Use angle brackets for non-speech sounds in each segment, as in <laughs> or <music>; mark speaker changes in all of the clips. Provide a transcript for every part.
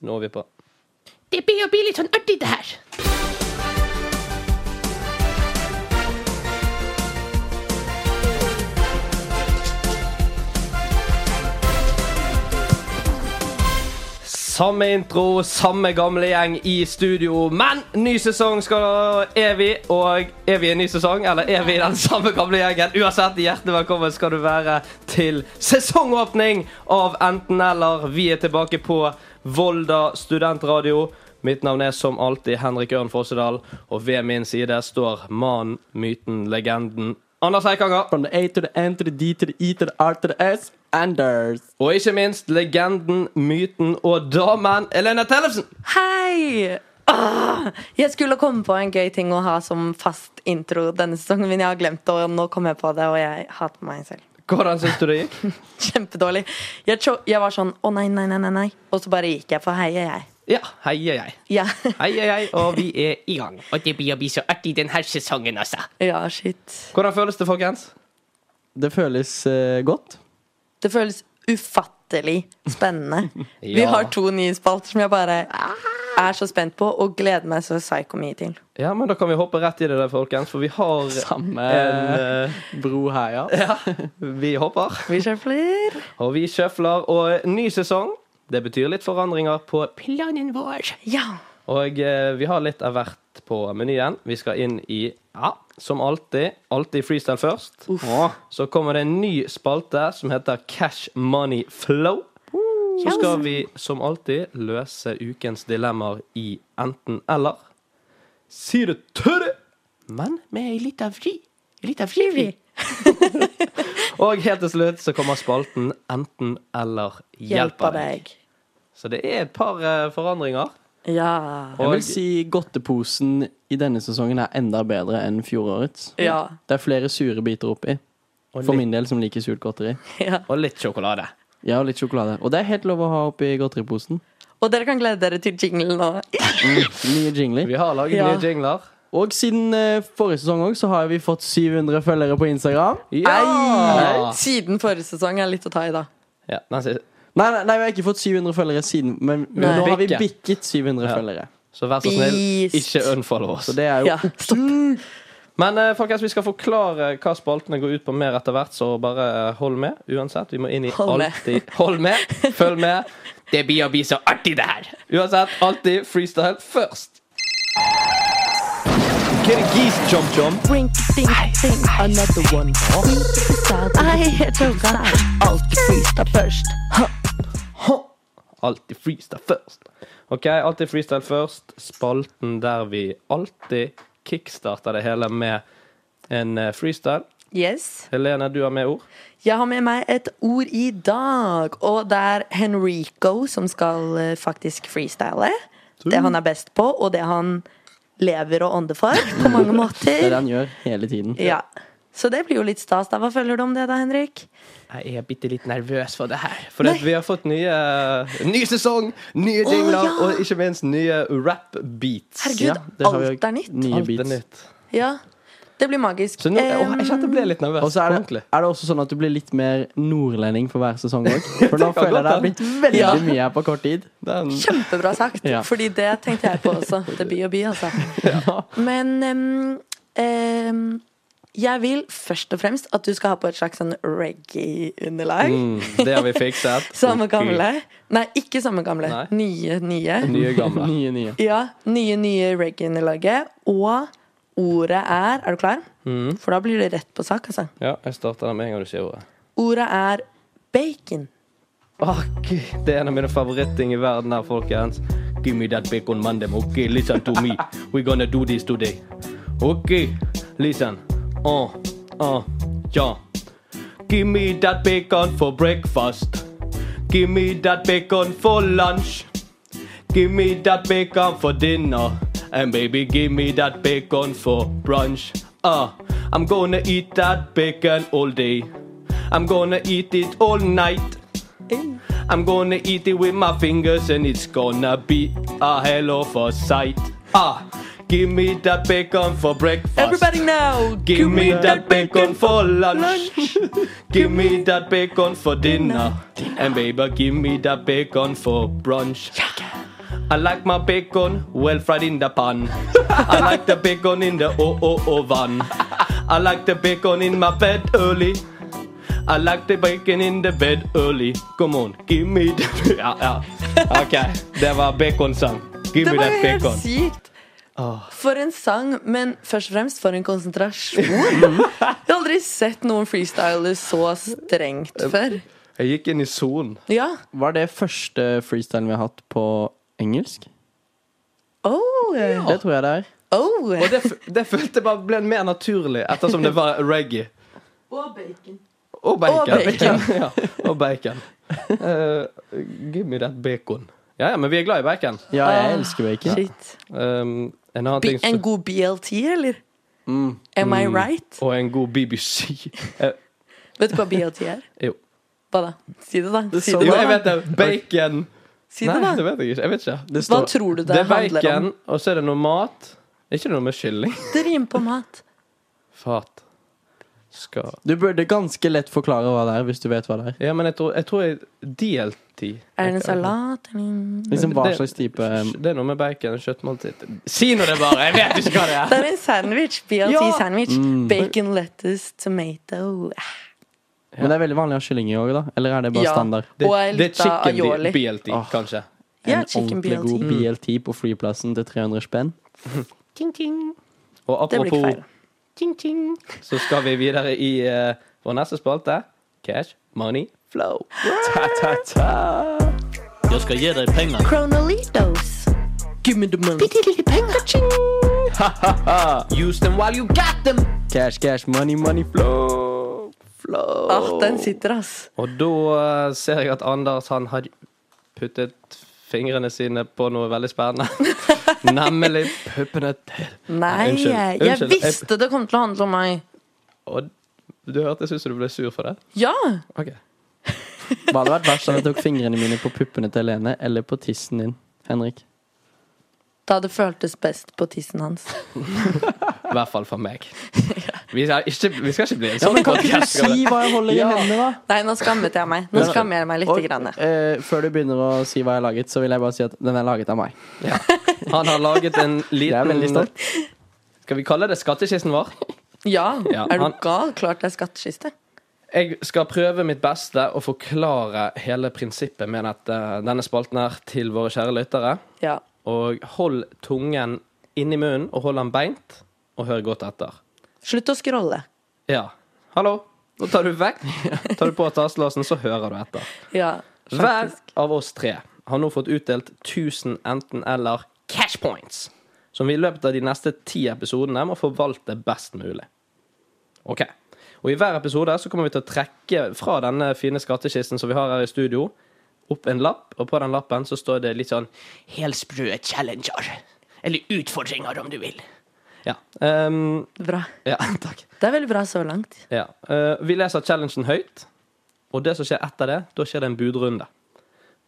Speaker 1: Nå er vi på.
Speaker 2: Det blir å bli litt sånn artig, det her.
Speaker 1: Samme intro, samme gamle gjeng i studio, men ny sesong skal er vi. Og er vi i en ny sesong, eller er vi i den samme gamle gjengen? Uansett, hjertelig velkommen skal du være til sesongåpning av Enten eller. Vi er tilbake på Volda studentradio. Mitt navn er som alltid Henrik Ørn Fossedal, og ved min side står mannen, myten, legenden Anders Eikanger.
Speaker 3: From the A to the N to the D to the E to the R to the S. Anders.
Speaker 1: Og ikke minst legenden, myten og damen Elena Tellefsen.
Speaker 4: Hei! Åh, jeg skulle komme på en gøy ting å ha som fast intro denne sesongen, men jeg har glemt det, og nå kom jeg på det, og jeg hater meg selv. <laughs>
Speaker 1: Hvordan syns du det gikk?
Speaker 4: Kjempedårlig. Jeg, tro, jeg var sånn å nei, nei, nei, nei, nei. Og så bare gikk jeg, for heier jeg.
Speaker 1: Ja, heier jeg.
Speaker 4: Ja.
Speaker 1: Heier jeg, og vi er i gang.
Speaker 2: Og det blir å bli så artig denne sesongen, altså.
Speaker 4: <laughs> ja, shit.
Speaker 1: Hvordan føles det, folkens?
Speaker 3: Det føles eh, godt.
Speaker 4: Det føles ufattelig
Speaker 1: <laughs>
Speaker 4: spennende.
Speaker 1: Ja.
Speaker 4: Vi har to nye spalter som jeg bare er så spent på, og gleder meg så psycho mye til.
Speaker 1: Ja, men Da kan vi hoppe rett i det, der, folkens, for vi har
Speaker 3: Samme
Speaker 1: en eh,
Speaker 3: bro heia.
Speaker 1: Vi hopper,
Speaker 4: Vi sjøfler.
Speaker 1: og vi sjøfler. Og ny sesong, det betyr litt forandringer på planen vår.
Speaker 4: Ja.
Speaker 1: Og eh, vi har litt av hvert på menyen. Vi skal inn i ja, som alltid, alltid freestyle først. Og Så kommer det en ny spalte som heter Cash Money Flow. Så skal vi som alltid løse ukens dilemmaer i enten-eller. Si det tørre! Men med litt av fri. Litt av fri, fri. <laughs> Og helt til slutt så kommer spalten Enten-eller hjelper
Speaker 4: Hjelper
Speaker 1: deg.
Speaker 4: deg.
Speaker 1: Så det er et par eh, forandringer.
Speaker 4: Ja.
Speaker 3: Jeg
Speaker 1: Og-
Speaker 3: vil si godteposen i denne sesongen er enda bedre enn fjorårets.
Speaker 4: Ja.
Speaker 3: Det er flere sure biter oppi.
Speaker 1: Og
Speaker 3: For
Speaker 1: litt-
Speaker 3: min del, som liker surt godteri.
Speaker 4: ja.
Speaker 1: Og litt sjokolade.
Speaker 3: Ja, og litt sjokolade. Og det er helt lov å ha oppi godteriposen.
Speaker 4: Og dere kan glede dere til jinglen nå.
Speaker 3: Nye jingler.
Speaker 1: Vi har laget
Speaker 4: Ja.
Speaker 1: nye jingler.
Speaker 3: Og siden eh, forrige sesong òg, så har vi fått 700 følgere på Instagram.
Speaker 1: Ja!
Speaker 4: Siden forrige sesong er litt å ta i, da.
Speaker 1: ja den siste.
Speaker 3: Nei, nei, nei, vi har ikke fått 700 følgere siden, men
Speaker 4: Nei.
Speaker 3: nå har vi
Speaker 1: Bikke.
Speaker 3: bikket 700
Speaker 1: Ja.
Speaker 3: følgere.
Speaker 1: Så vær så snill,
Speaker 4: Beast.
Speaker 1: ikke unfollow oss.
Speaker 3: Så det er jo
Speaker 4: Ja, stopp.
Speaker 1: Men eh, folkens, vi skal forklare eh, hva spaltene går ut på mer etter hvert, så bare eh, hold med. Uansett, vi må inn i
Speaker 4: Hold med.
Speaker 1: alltid Hold med, følg med.
Speaker 2: Det blir å bli så artig, det her.
Speaker 1: Uansett, alltid freestyle først. Kirgis chom chom.
Speaker 4: Nei, jeg choka. Alltid freestyle først.
Speaker 1: Alltid freestyle først. OK, alltid freestyle først. Spalten der vi alltid kickstarter det hele med en eh, freestyle.
Speaker 4: Yes.
Speaker 1: Helene, du har med ord.
Speaker 4: Jeg har med meg et ord i dag, og det er Henrico som skal eh, faktisk freestyle. Det han er best på, og det han lever og ånder for
Speaker 1: <laughs>
Speaker 4: på mange
Speaker 3: det er det
Speaker 4: måter.
Speaker 3: han gjør hele tiden.
Speaker 4: Ja. Så det blir jo litt stas. da Hva føler du om det, da, Henrik?
Speaker 2: Jeg er bitte litt nervøs for det her.
Speaker 1: For at vi har fått nye, ny sesong, nye jingler
Speaker 4: ja.
Speaker 1: og ikke minst nye rap-beats.
Speaker 4: Herregud,
Speaker 3: det har vi
Speaker 4: alt
Speaker 3: jo-
Speaker 4: er nytt.
Speaker 3: Nye
Speaker 1: Alt er
Speaker 3: beats.
Speaker 1: nytt.
Speaker 4: Ja, Det blir magisk.
Speaker 1: Så nå,
Speaker 4: Eh,
Speaker 1: åh, jeg kjente jeg ble litt nervøs.
Speaker 3: Og så er det,
Speaker 1: ordentlig.
Speaker 3: er det også sånn at du blir litt mer nordlending for hver sesong òg.
Speaker 1: <laughs>
Speaker 3: For nå
Speaker 1: Det kan
Speaker 3: føler jeg det har
Speaker 1: godt
Speaker 3: blitt veldig
Speaker 4: Ja.
Speaker 3: mye her på kort tid.
Speaker 1: Den,
Speaker 4: Kjempebra sagt,
Speaker 3: Ja.
Speaker 4: fordi det tenkte jeg på også. Det er by og by, altså. Men em, em, jeg vil først og fremst at du skal ha på et slags sånn reggae-underlag.
Speaker 1: mm, det har vi fikset.
Speaker 4: Samme gamle. Nei, ikke samme gamle.
Speaker 1: Nei.
Speaker 4: Nye, nye.
Speaker 1: <laughs> Nye gamle.
Speaker 3: Nye, nye.
Speaker 4: Ja, nye, nye reggae-underlaget. Og ordet er Er du klar?
Speaker 1: Mm.
Speaker 4: For da blir det rett på sak, altså.
Speaker 1: Ja, jeg starter den med en gang du sier ordet.
Speaker 4: Ordet er bacon.
Speaker 1: Åh, Gud, det er en av mine favorittting i verden her, folkens. Give me that bacon mandem, ok? Listen to me. We're gonna do this today. Ok, listen. Åh, åh, ja. Give me that bacon for breakfast. Give me that bacon for lunch. Give me that bacon for dinner. And baby, give me that bacon for brunch. Ah, I'm gonna eat that bacon all day. I'm gonna eat it all night. I'm gonna eat it with my fingers and it's gonna be a hell of a sight. Ah, give me that bacon for breakfast.
Speaker 4: Everybody now!
Speaker 1: Give me that bacon for lunch. <laughs> give me that bacon for dinner. And baby, give me that bacon for brunch. I like my bacon well fried in the pan. I like the bacon in the o o oven. I like the bacon in my bed early. I like the bacon in the bed early. Come on, give me the <laughs> Ja, ja. OK. Det var baconsang. Give
Speaker 4: Det
Speaker 1: me
Speaker 4: var
Speaker 1: that
Speaker 4: jo helt
Speaker 1: bacon.
Speaker 4: sykt. For en sang, men først og fremst for en
Speaker 1: <laughs>
Speaker 4: konsentrasjon. Jeg har aldri sett noen freestyler så strengt
Speaker 1: Eh,
Speaker 4: før.
Speaker 1: Jeg gikk inn i sonen.
Speaker 4: Ja.
Speaker 3: Var det første freestylen vi har hatt på engelsk?
Speaker 4: Oh.
Speaker 3: Det tror jeg det er.
Speaker 4: Oh.
Speaker 1: Og det, f- det følte jeg bare ble mer naturlig ettersom det var reggae.
Speaker 4: Og bacon.
Speaker 1: Og bacon.
Speaker 4: Og bacon.
Speaker 1: <laughs> ja, og bacon. Eh, give me that bacon. Ja, ja, men vi er glad i bacon.
Speaker 3: Ja,
Speaker 4: Ah.
Speaker 3: jeg elsker bacon.
Speaker 4: Shit.
Speaker 1: Um, en annen
Speaker 4: Bi-
Speaker 1: ting
Speaker 4: En
Speaker 1: som-
Speaker 4: god BLT, eller?
Speaker 3: Mm.
Speaker 4: Am I right?
Speaker 1: Og en god BBC. <laughs> Eh,
Speaker 4: Vet du hva BLT er?
Speaker 1: <laughs> jo.
Speaker 4: Hva da? Si det, da. Si det,
Speaker 1: jo, jeg
Speaker 4: da.
Speaker 1: vet det. Bacon
Speaker 4: Si det,
Speaker 1: Nei,
Speaker 4: da.
Speaker 1: det vet jeg ikke. Jeg vet ikke.
Speaker 3: Det
Speaker 4: Hva
Speaker 3: står
Speaker 4: tror du
Speaker 1: Det
Speaker 4: det
Speaker 1: er
Speaker 4: handler om?
Speaker 1: bacon, og så er det noe mat. Er ikke det noe med kylling?
Speaker 4: Det rimer på mat.
Speaker 1: Fat. Skal
Speaker 3: Du burde ganske lett forklare hva det er, hvis du vet hva det er.
Speaker 1: Ja, men jeg tror jeg, tror jeg Deltid.
Speaker 4: Er det en
Speaker 1: <laughs>
Speaker 4: salat? eller-
Speaker 3: Liksom hva
Speaker 1: Det-
Speaker 3: slags type
Speaker 1: eh, Det er noe med bacon og kjøttmåltid. Si nå det bare! Jeg vet ikke hva det er.
Speaker 4: Det er en sandwich.
Speaker 1: Ja. Mm.
Speaker 4: BLT-sandwich. Bacon, lettuce, tomato.
Speaker 3: Men det er veldig vanlig å ha kylling i òg, da? Eller er det bare
Speaker 4: Ja.
Speaker 3: standard?
Speaker 1: Det,
Speaker 4: Og jeg
Speaker 1: det er
Speaker 4: likte
Speaker 1: chicken
Speaker 4: aioli.
Speaker 1: di- BLT,
Speaker 3: Åh.
Speaker 1: kanskje.
Speaker 4: Ja,
Speaker 3: en
Speaker 4: chicken
Speaker 3: ordentlig
Speaker 4: BLT.
Speaker 3: god BLT på flyplassen til 300 spenn?
Speaker 2: Ting, ting.
Speaker 1: Og
Speaker 4: Det blir ikke
Speaker 1: apropos,
Speaker 4: feil.
Speaker 2: Ting, ting.
Speaker 1: så skal vi videre i eh, vår neste spalte. Cash, money, flow. Ta, ta, ta.
Speaker 5: Jeg skal gi deg penger.
Speaker 4: Chronolitos.
Speaker 2: Bitte lille penger.
Speaker 1: Use them while you got them.
Speaker 3: Cash, cash, money, money,
Speaker 1: Flow. Flow.
Speaker 4: Åh, den sitter, ass.
Speaker 1: Og da eh, ser jeg at Anders han har puttet fingrene sine på noe veldig spennende. Nemlig puppene til
Speaker 4: Nei,
Speaker 1: Unnskyld,
Speaker 4: jeg,
Speaker 1: unnskyld, jeg-
Speaker 4: visste det kom til å handle om meg.
Speaker 1: Og du hørtes ut som du ble sur for det.
Speaker 4: Ja!
Speaker 1: Ok.
Speaker 3: Hva hadde vært verst om jeg tok fingrene mine på puppene til Helene eller på tissen din, Henrik?
Speaker 4: Da det føltes best på tissen hans.
Speaker 1: I hvert fall for
Speaker 3: <laughs>
Speaker 1: meg. Vi skal ikke, vi skal ikke bli en
Speaker 3: Ja,
Speaker 1: sånn
Speaker 3: men kan ikke du
Speaker 1: podcast, skal vi?
Speaker 3: si hva jeg holder i
Speaker 1: Ja.
Speaker 3: hendene, da?
Speaker 4: Nei, nå skammet jeg meg. Nå
Speaker 3: Men-
Speaker 4: skammer jeg meg
Speaker 3: Og,
Speaker 4: lite grann. jeg.
Speaker 3: eh, før du begynner å si hva jeg har laget, så vil jeg bare si at den er laget av meg.
Speaker 1: Ja. Han har laget en
Speaker 3: Jeg er veldig
Speaker 1: liten
Speaker 3: stolt.
Speaker 1: Skal vi kalle det skattkisten vår?
Speaker 4: Ja,
Speaker 1: Ja,
Speaker 4: er du
Speaker 1: han-
Speaker 4: gal? Klart det er skattkiste.
Speaker 1: Jeg skal prøve mitt beste å forklare hele prinsippet med dette, denne spalten her til våre kjære lyttere.
Speaker 4: Ja.
Speaker 1: Og hold tungen inni munnen, og hold den beint, og hør godt etter.
Speaker 4: Slutt å scrolle.
Speaker 1: Ja. Hallo? Nå tar du
Speaker 3: <laughs>
Speaker 1: vekk. Tar du på tastelåsen, så hører du etter.
Speaker 4: Ja,
Speaker 1: Hver
Speaker 4: faktisk.
Speaker 1: av oss tre har nå fått utdelt 1000 enten-eller cash points, som vi i løpet av de neste ti episodene må forvalte best mulig. Ok. Og i hver episode så kommer vi til å trekke fra denne fine skattkisten som vi har her i studio, opp en lapp, og på den lappen så står det litt sånn
Speaker 2: Helsprø challenger. Eller utfordringer, om du vil.
Speaker 1: Ja. ehm,
Speaker 4: Bra.
Speaker 1: ja, <laughs> takk.
Speaker 4: Det er veldig bra så langt.
Speaker 1: Ja. eh, vi leser challengen høyt, og det som skjer etter det, da skjer det en budrunde.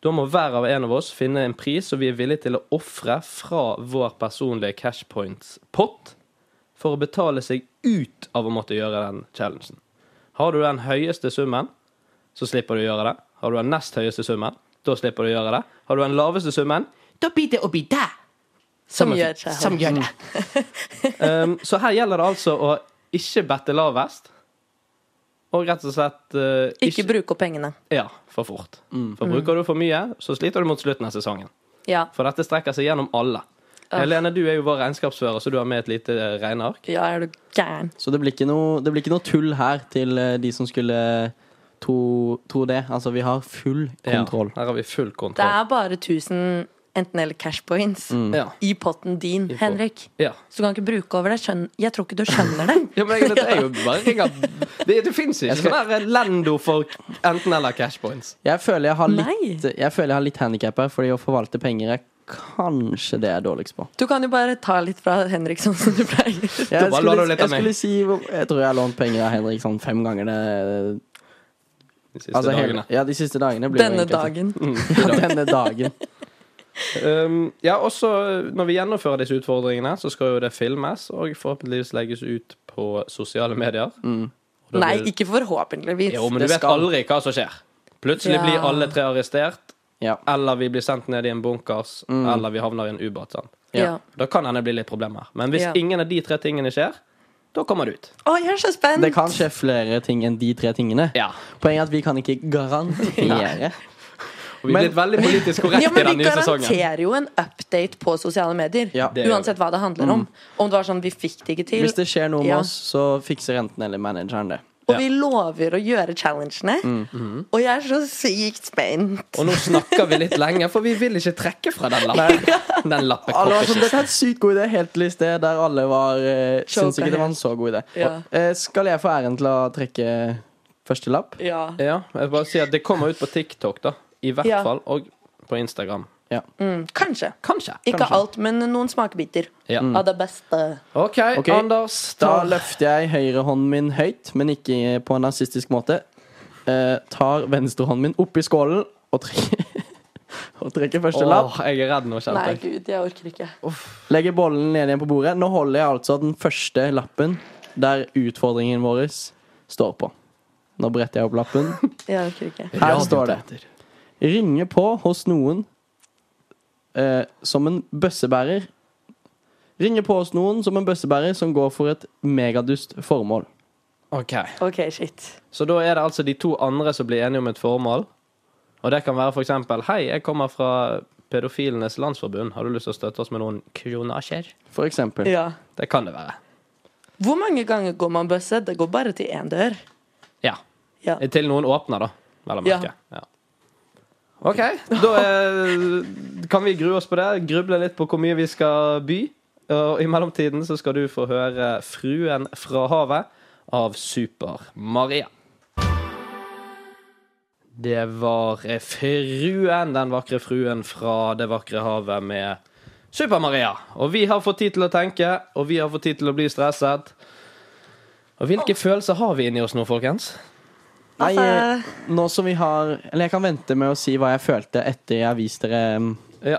Speaker 1: Da må hver av en av oss finne en pris som vi er villige til å ofre fra vår personlige cash points-pott for å betale seg ut av å måtte gjøre den challengen. Har du den høyeste summen, så slipper du å gjøre det. Har du den nest høyeste summen, da slipper du å gjøre det. Har du den laveste summen,
Speaker 2: Da blir det å bli deg
Speaker 4: Som
Speaker 1: Samme
Speaker 4: gjør seg
Speaker 2: som gjør det.
Speaker 1: Um, <laughs> så her gjelder det altså å ikke bette lavest, og rett og slett eh,
Speaker 4: Ikke bruke opp pengene.
Speaker 1: Ja, for fort. For bruker du for mye, så sliter du mot slutten av sesongen.
Speaker 4: Ja.
Speaker 1: For dette strekker seg gjennom alle. Helene, du er jo vår regnskapsfører, så du har med et lite eh, regneark.
Speaker 4: ja, er du gæren?
Speaker 3: Så det blir ikke noe, det blir ikke noe tull her til eh, de som skulle tro, tro det. Altså, vi har full kontroll.
Speaker 1: Ja, her har vi full
Speaker 4: Det
Speaker 1: kontroll.
Speaker 4: er bare 1000 enten eller cash points
Speaker 1: Ja.
Speaker 4: i potten din,
Speaker 1: pot-
Speaker 4: Henrik.
Speaker 1: Ja.
Speaker 4: Så du kan ikke bruke over det. Skjønn... Jeg tror ikke du skjønner det.
Speaker 1: <laughs> ja, men jeg, det er jo bare ringer. Det, det fins ikke sånn der Lendo for enten eller cash points.
Speaker 3: Jeg føler jeg har
Speaker 4: Nei.
Speaker 3: litt, jeg føler jeg har litt handikap her, fordi å forvalte penger er kanskje det jeg er dårligst på.
Speaker 4: Du kan jo bare ta litt fra Henrik, sånn som du pleier.
Speaker 3: Jeg
Speaker 1: bare låner
Speaker 3: skulle,
Speaker 1: du litt av
Speaker 3: jeg
Speaker 1: meg.
Speaker 3: skulle si hvor- Jeg tror jeg har lånt penger av Henrik sånn fem ganger det,
Speaker 1: De siste
Speaker 3: altså, hele-
Speaker 1: dagene. Mm.
Speaker 3: ja, de siste dagene. Blir jo
Speaker 4: <laughs> Denne
Speaker 3: egentlig-
Speaker 4: dagen.
Speaker 3: <laughs> Ja, denne dagen.
Speaker 1: <laughs> Um, ja, også når vi gjennomfører disse utfordringene, så skal jo det filmes og forhåpentligvis legges ut på sosiale medier. Og da
Speaker 4: Nei,
Speaker 1: blir-
Speaker 4: ikke forhåpentligvis.
Speaker 1: Jo, men
Speaker 3: Det
Speaker 1: du vet
Speaker 3: skal-
Speaker 1: aldri hva som skjer. Plutselig
Speaker 4: Ja.
Speaker 1: blir alle tre arrestert,
Speaker 3: Ja.
Speaker 1: Eller vi blir sendt ned i en bunkers,
Speaker 4: Mm.
Speaker 1: eller vi havner i en ubåt. sant?
Speaker 4: Ja.
Speaker 1: Da kan hende bli litt problemer. Men hvis
Speaker 4: Ja.
Speaker 1: ingen av de tre tingene skjer, da kommer du ut.
Speaker 4: Å, jeg er så spent!
Speaker 3: Det kan skje flere ting enn de tre tingene.
Speaker 1: Ja.
Speaker 3: Poenget er at vi kan ikke garantere.
Speaker 1: Og vi er blitt veldig
Speaker 4: <laughs>
Speaker 1: politisk korrekte
Speaker 4: ja,
Speaker 1: i
Speaker 4: men
Speaker 1: den
Speaker 4: vi
Speaker 1: nye sesongen.
Speaker 4: garanterer jo en update på sosiale medier.
Speaker 3: Ja.
Speaker 1: Det gjør Mm.
Speaker 4: Uansett hva det handler om. Om det var sånn vi fikk det ikke til.
Speaker 3: Hvis det skjer noe med
Speaker 4: Ja.
Speaker 3: oss, så fikser enten eller manageren det.
Speaker 4: Og vi lover å gjøre challengene. Og jeg er så sykt spent.
Speaker 1: Mm. Mm-hmm. Og nå snakker vi litt lenge, for vi vil ikke trekke fra den
Speaker 4: <laughs>
Speaker 1: lappen. Den
Speaker 3: Alle var sånn,
Speaker 1: lappekoppen.
Speaker 3: Dette er en sykt god idé, helt til i sted, der alle var eh, Syns ikke det var en så god idé.
Speaker 4: Ja.
Speaker 3: Eh, skal jeg få æren til å trekke første lapp?
Speaker 4: Ja.
Speaker 1: Ja, jeg bare sier at det kommer ut på TikTok, da. I hvert
Speaker 4: Ja.
Speaker 1: fall. Og på Instagram.
Speaker 3: Ja.
Speaker 4: Mm, kanskje.
Speaker 1: Kanskje.
Speaker 4: Ikke
Speaker 1: kanskje.
Speaker 4: alt, men noen smakebiter
Speaker 1: Ja.
Speaker 4: av det beste.
Speaker 1: OK,
Speaker 3: Ok,
Speaker 1: Anders.
Speaker 3: Da
Speaker 1: Da
Speaker 3: løfter jeg høyrehånden min høyt, men ikke på en nazistisk måte. Eh, tar venstrehånden min oppi skålen og trekker, <laughs> og trekker første lapp.
Speaker 1: Åh, jeg er redd nå,
Speaker 4: Nei,
Speaker 1: kjente jeg.
Speaker 4: gud, jeg orker ikke.
Speaker 3: Legger bollen ned igjen på bordet. Nå holder jeg altså den første lappen der utfordringen vår står på. Nå bretter jeg opp lappen.
Speaker 4: Jeg orker ikke.
Speaker 3: Her står det. Ringe på hos noen eh, som en bøssebærer. Ringe på hos noen som en bøssebærer som går for et megadust formål.
Speaker 1: OK.
Speaker 4: OK, shit.
Speaker 1: Så da er det altså de to andre som blir enige om et formål. Og det kan være for eksempel Hei, jeg kommer fra Pedofilenes Landsforbund. Har du lyst til å støtte oss med noen kronasjer?
Speaker 3: For eksempel.
Speaker 4: Ja.
Speaker 1: Det kan det være.
Speaker 4: Hvor mange ganger går man bøsse? Det går bare til én dør.
Speaker 1: Ja.
Speaker 4: Ja.
Speaker 1: Til noen åpner, da. Vel å
Speaker 4: Ja.
Speaker 1: merke. Ja. OK. Da eh, kan vi grue oss på det. Gruble litt på hvor mye vi skal by. Og i mellomtiden så skal du få høre 'Fruen fra havet' av Super-Maria. Det var eh, fruen, den vakre fruen fra det vakre havet med Super-Maria. Og vi har fått tid til å tenke, og vi har fått tid til å bli stresset. Og hvilke følelser har vi inni oss nå, folkens?
Speaker 3: Nei, eh,
Speaker 4: Altså-
Speaker 3: nå som vi har Eller jeg kan vente med å si hva jeg følte etter jeg har vist dere mm,
Speaker 1: Ja.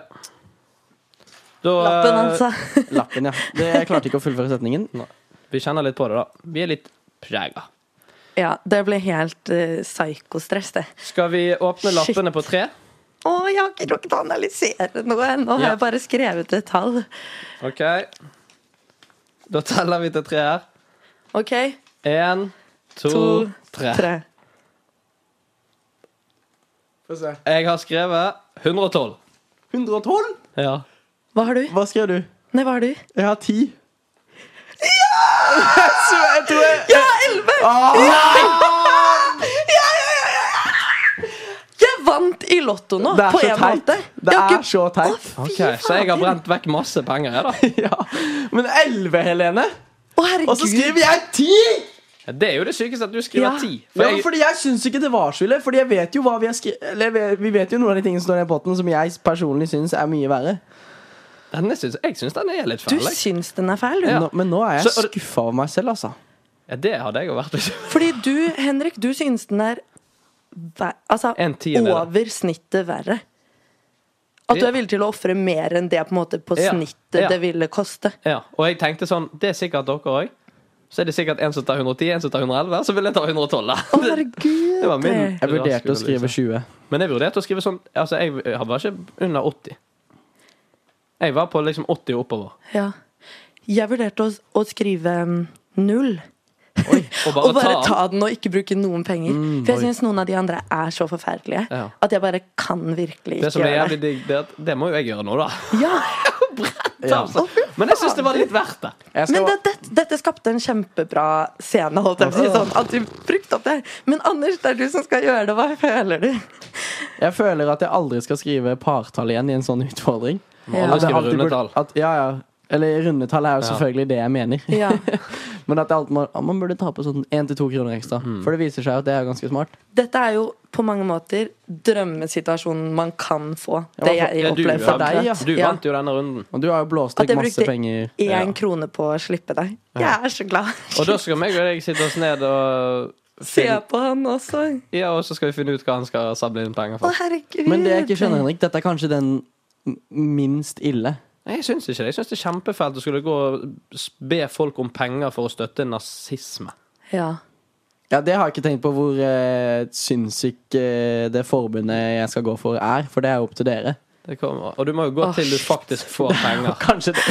Speaker 1: Da,
Speaker 4: Lappen,
Speaker 1: eh,
Speaker 4: altså. <laughs>
Speaker 3: lappen, ja. Det, jeg klarte ikke å fullføre setningen.
Speaker 1: Vi kjenner litt på det, da. Vi er litt prega.
Speaker 4: Ja, det ble helt eh, psykostress, det.
Speaker 1: Skal vi åpne
Speaker 4: Shit.
Speaker 1: lappene på tre?
Speaker 4: Å, jeg har ikke rukket å analysere noe
Speaker 1: Ja.
Speaker 4: ennå. Har jeg bare skrevet et tall.
Speaker 1: OK. Da teller vi til tre her.
Speaker 4: OK.
Speaker 1: Én, to,
Speaker 4: To,
Speaker 1: tre.
Speaker 4: tre.
Speaker 1: Jeg har skrevet 112.
Speaker 3: 112?
Speaker 1: Ja.
Speaker 4: Hva har du?
Speaker 3: Hva skrev du?
Speaker 4: Nei, hva har du?
Speaker 3: Jeg har 10. <laughs>
Speaker 4: Ja, elleve!
Speaker 3: Ah,
Speaker 4: Jeg vant i Lotto nå,
Speaker 3: Det er
Speaker 4: på
Speaker 3: så
Speaker 4: en
Speaker 3: teit.
Speaker 4: måte.
Speaker 3: Det
Speaker 4: Jeg har
Speaker 3: er
Speaker 4: ikke-
Speaker 3: så teit.
Speaker 4: Å,
Speaker 1: OK,
Speaker 4: fy
Speaker 1: så jeg har
Speaker 4: fader.
Speaker 1: brent vekk masse penger, jeg,
Speaker 3: <laughs> Ja. Men 11, Helene!
Speaker 4: Å,
Speaker 3: Og så
Speaker 4: herregud.
Speaker 3: skriver jeg 10!
Speaker 1: da. Det er jo det sykeste at du skriver
Speaker 4: Ja.
Speaker 1: ti.
Speaker 3: Ja, men
Speaker 1: jeg-
Speaker 3: fordi jeg syns ikke det var så ille. Fordi jeg vet jo hva Vi har skri- Eller jeg vet- vi vet jo noen av de tingene som står ned i potten, som jeg personlig syns er mye verre.
Speaker 1: Denne syns, jeg syns den er litt
Speaker 4: Du
Speaker 1: fæl. jeg.
Speaker 4: syns den er fæl, du.
Speaker 1: Ja.
Speaker 3: Nå, men nå er jeg
Speaker 1: Så- og-
Speaker 3: skuffa over meg selv, altså.
Speaker 1: Ja, det hadde jeg jo vært. hvis-
Speaker 4: Fordi du, Henrik, du syns den er ver- altså,
Speaker 1: En tiende.
Speaker 4: over snittet verre. At du
Speaker 1: Ja.
Speaker 4: er villig til å ofre mer enn det på, en måte, på
Speaker 1: Ja.
Speaker 4: snittet
Speaker 1: Ja.
Speaker 4: det ville koste.
Speaker 1: Ja, og jeg tenkte sånn, det er sikkert dere òg. Så er det sikkert en som tar 110, en som tar 111, så vil jeg ta 112. da.
Speaker 4: Å, herregud.
Speaker 1: Det var min
Speaker 3: Jeg vurderte å
Speaker 1: raske
Speaker 3: skrive
Speaker 1: analyse.
Speaker 3: 20.
Speaker 1: Men jeg vurderte å skrive sånn Altså, jeg jeg var ikke under 80. Jeg var på liksom 80 og oppover.
Speaker 4: Ja. Jeg vurderte å, å skrive mm, null. <laughs>
Speaker 1: Og bare,
Speaker 4: og bare
Speaker 1: ta, Mm,
Speaker 4: ta den og ikke bruke noen penger. For jeg syns noen av de andre er så forferdelige
Speaker 1: Ja.
Speaker 4: at jeg bare kan virkelig
Speaker 1: Det
Speaker 4: ikke
Speaker 1: som er
Speaker 4: gjøre
Speaker 1: jævlig
Speaker 4: det.
Speaker 1: digg, det er at det må jo jeg gjøre nå, da.
Speaker 4: <laughs> Ja,
Speaker 1: Ta, altså. Men jeg syns det var litt verdt det.
Speaker 3: Jeg
Speaker 4: men
Speaker 3: skal,
Speaker 4: det, det, dette skapte en kjempebra scene. Holdt jeg på å si sånn, at du brukte opp det. Men Anders, det er du som skal gjøre det. Hva føler du?
Speaker 3: jeg føler at jeg aldri skal skrive partall igjen i en sånn utfordring.
Speaker 4: Ja.
Speaker 1: Alle
Speaker 3: At jeg
Speaker 1: skriver
Speaker 3: alltid
Speaker 1: runde
Speaker 3: burde-
Speaker 1: tall.
Speaker 3: At, ja, ja. Eller rundetall er jo
Speaker 1: Ja.
Speaker 3: selvfølgelig det jeg mener.
Speaker 4: Ja.
Speaker 3: <laughs> Men at det alltid, må- man burde ta på sånn 1-2 kroner ekstra. For det viser seg jo at det er ganske smart.
Speaker 4: Dette er jo på mange måter drømmesituasjonen man kan få. Det
Speaker 3: Ja, for-
Speaker 4: jeg
Speaker 1: Ja, du,
Speaker 4: opplever
Speaker 1: ja.
Speaker 4: for
Speaker 3: deg, ja.
Speaker 1: Du vant jo denne runden.
Speaker 3: Og du har jo blåst vekk
Speaker 4: At jeg
Speaker 3: masse
Speaker 4: brukte
Speaker 3: penger.
Speaker 4: én
Speaker 1: Ja.
Speaker 4: krone på å slippe deg. Jeg er så glad.
Speaker 1: Og da skal meg og deg sitte oss ned og
Speaker 4: <laughs> Se
Speaker 1: finne,
Speaker 4: på han også.
Speaker 1: Ja, og så skal vi finne ut hva han skal sable inn penger
Speaker 4: Å,
Speaker 1: for.
Speaker 4: herregud.
Speaker 3: Men det jeg ikke skjønner, Henrik, dette er kanskje den m- minst ille.
Speaker 1: Nei, Jeg syns ikke det. Jeg syns det er kjempefælt å skulle gå og be folk om penger for å støtte nazisme.
Speaker 4: Ja.
Speaker 3: Ja, Det har jeg ikke tenkt på hvor eh, sinnssyk eh, det forbundet jeg skal gå for, er. For det er jo opp til dere.
Speaker 1: Det kommer. Og du må jo gå
Speaker 4: Åh,
Speaker 1: til du faktisk får
Speaker 3: <laughs>
Speaker 1: penger.
Speaker 3: Kanskje det,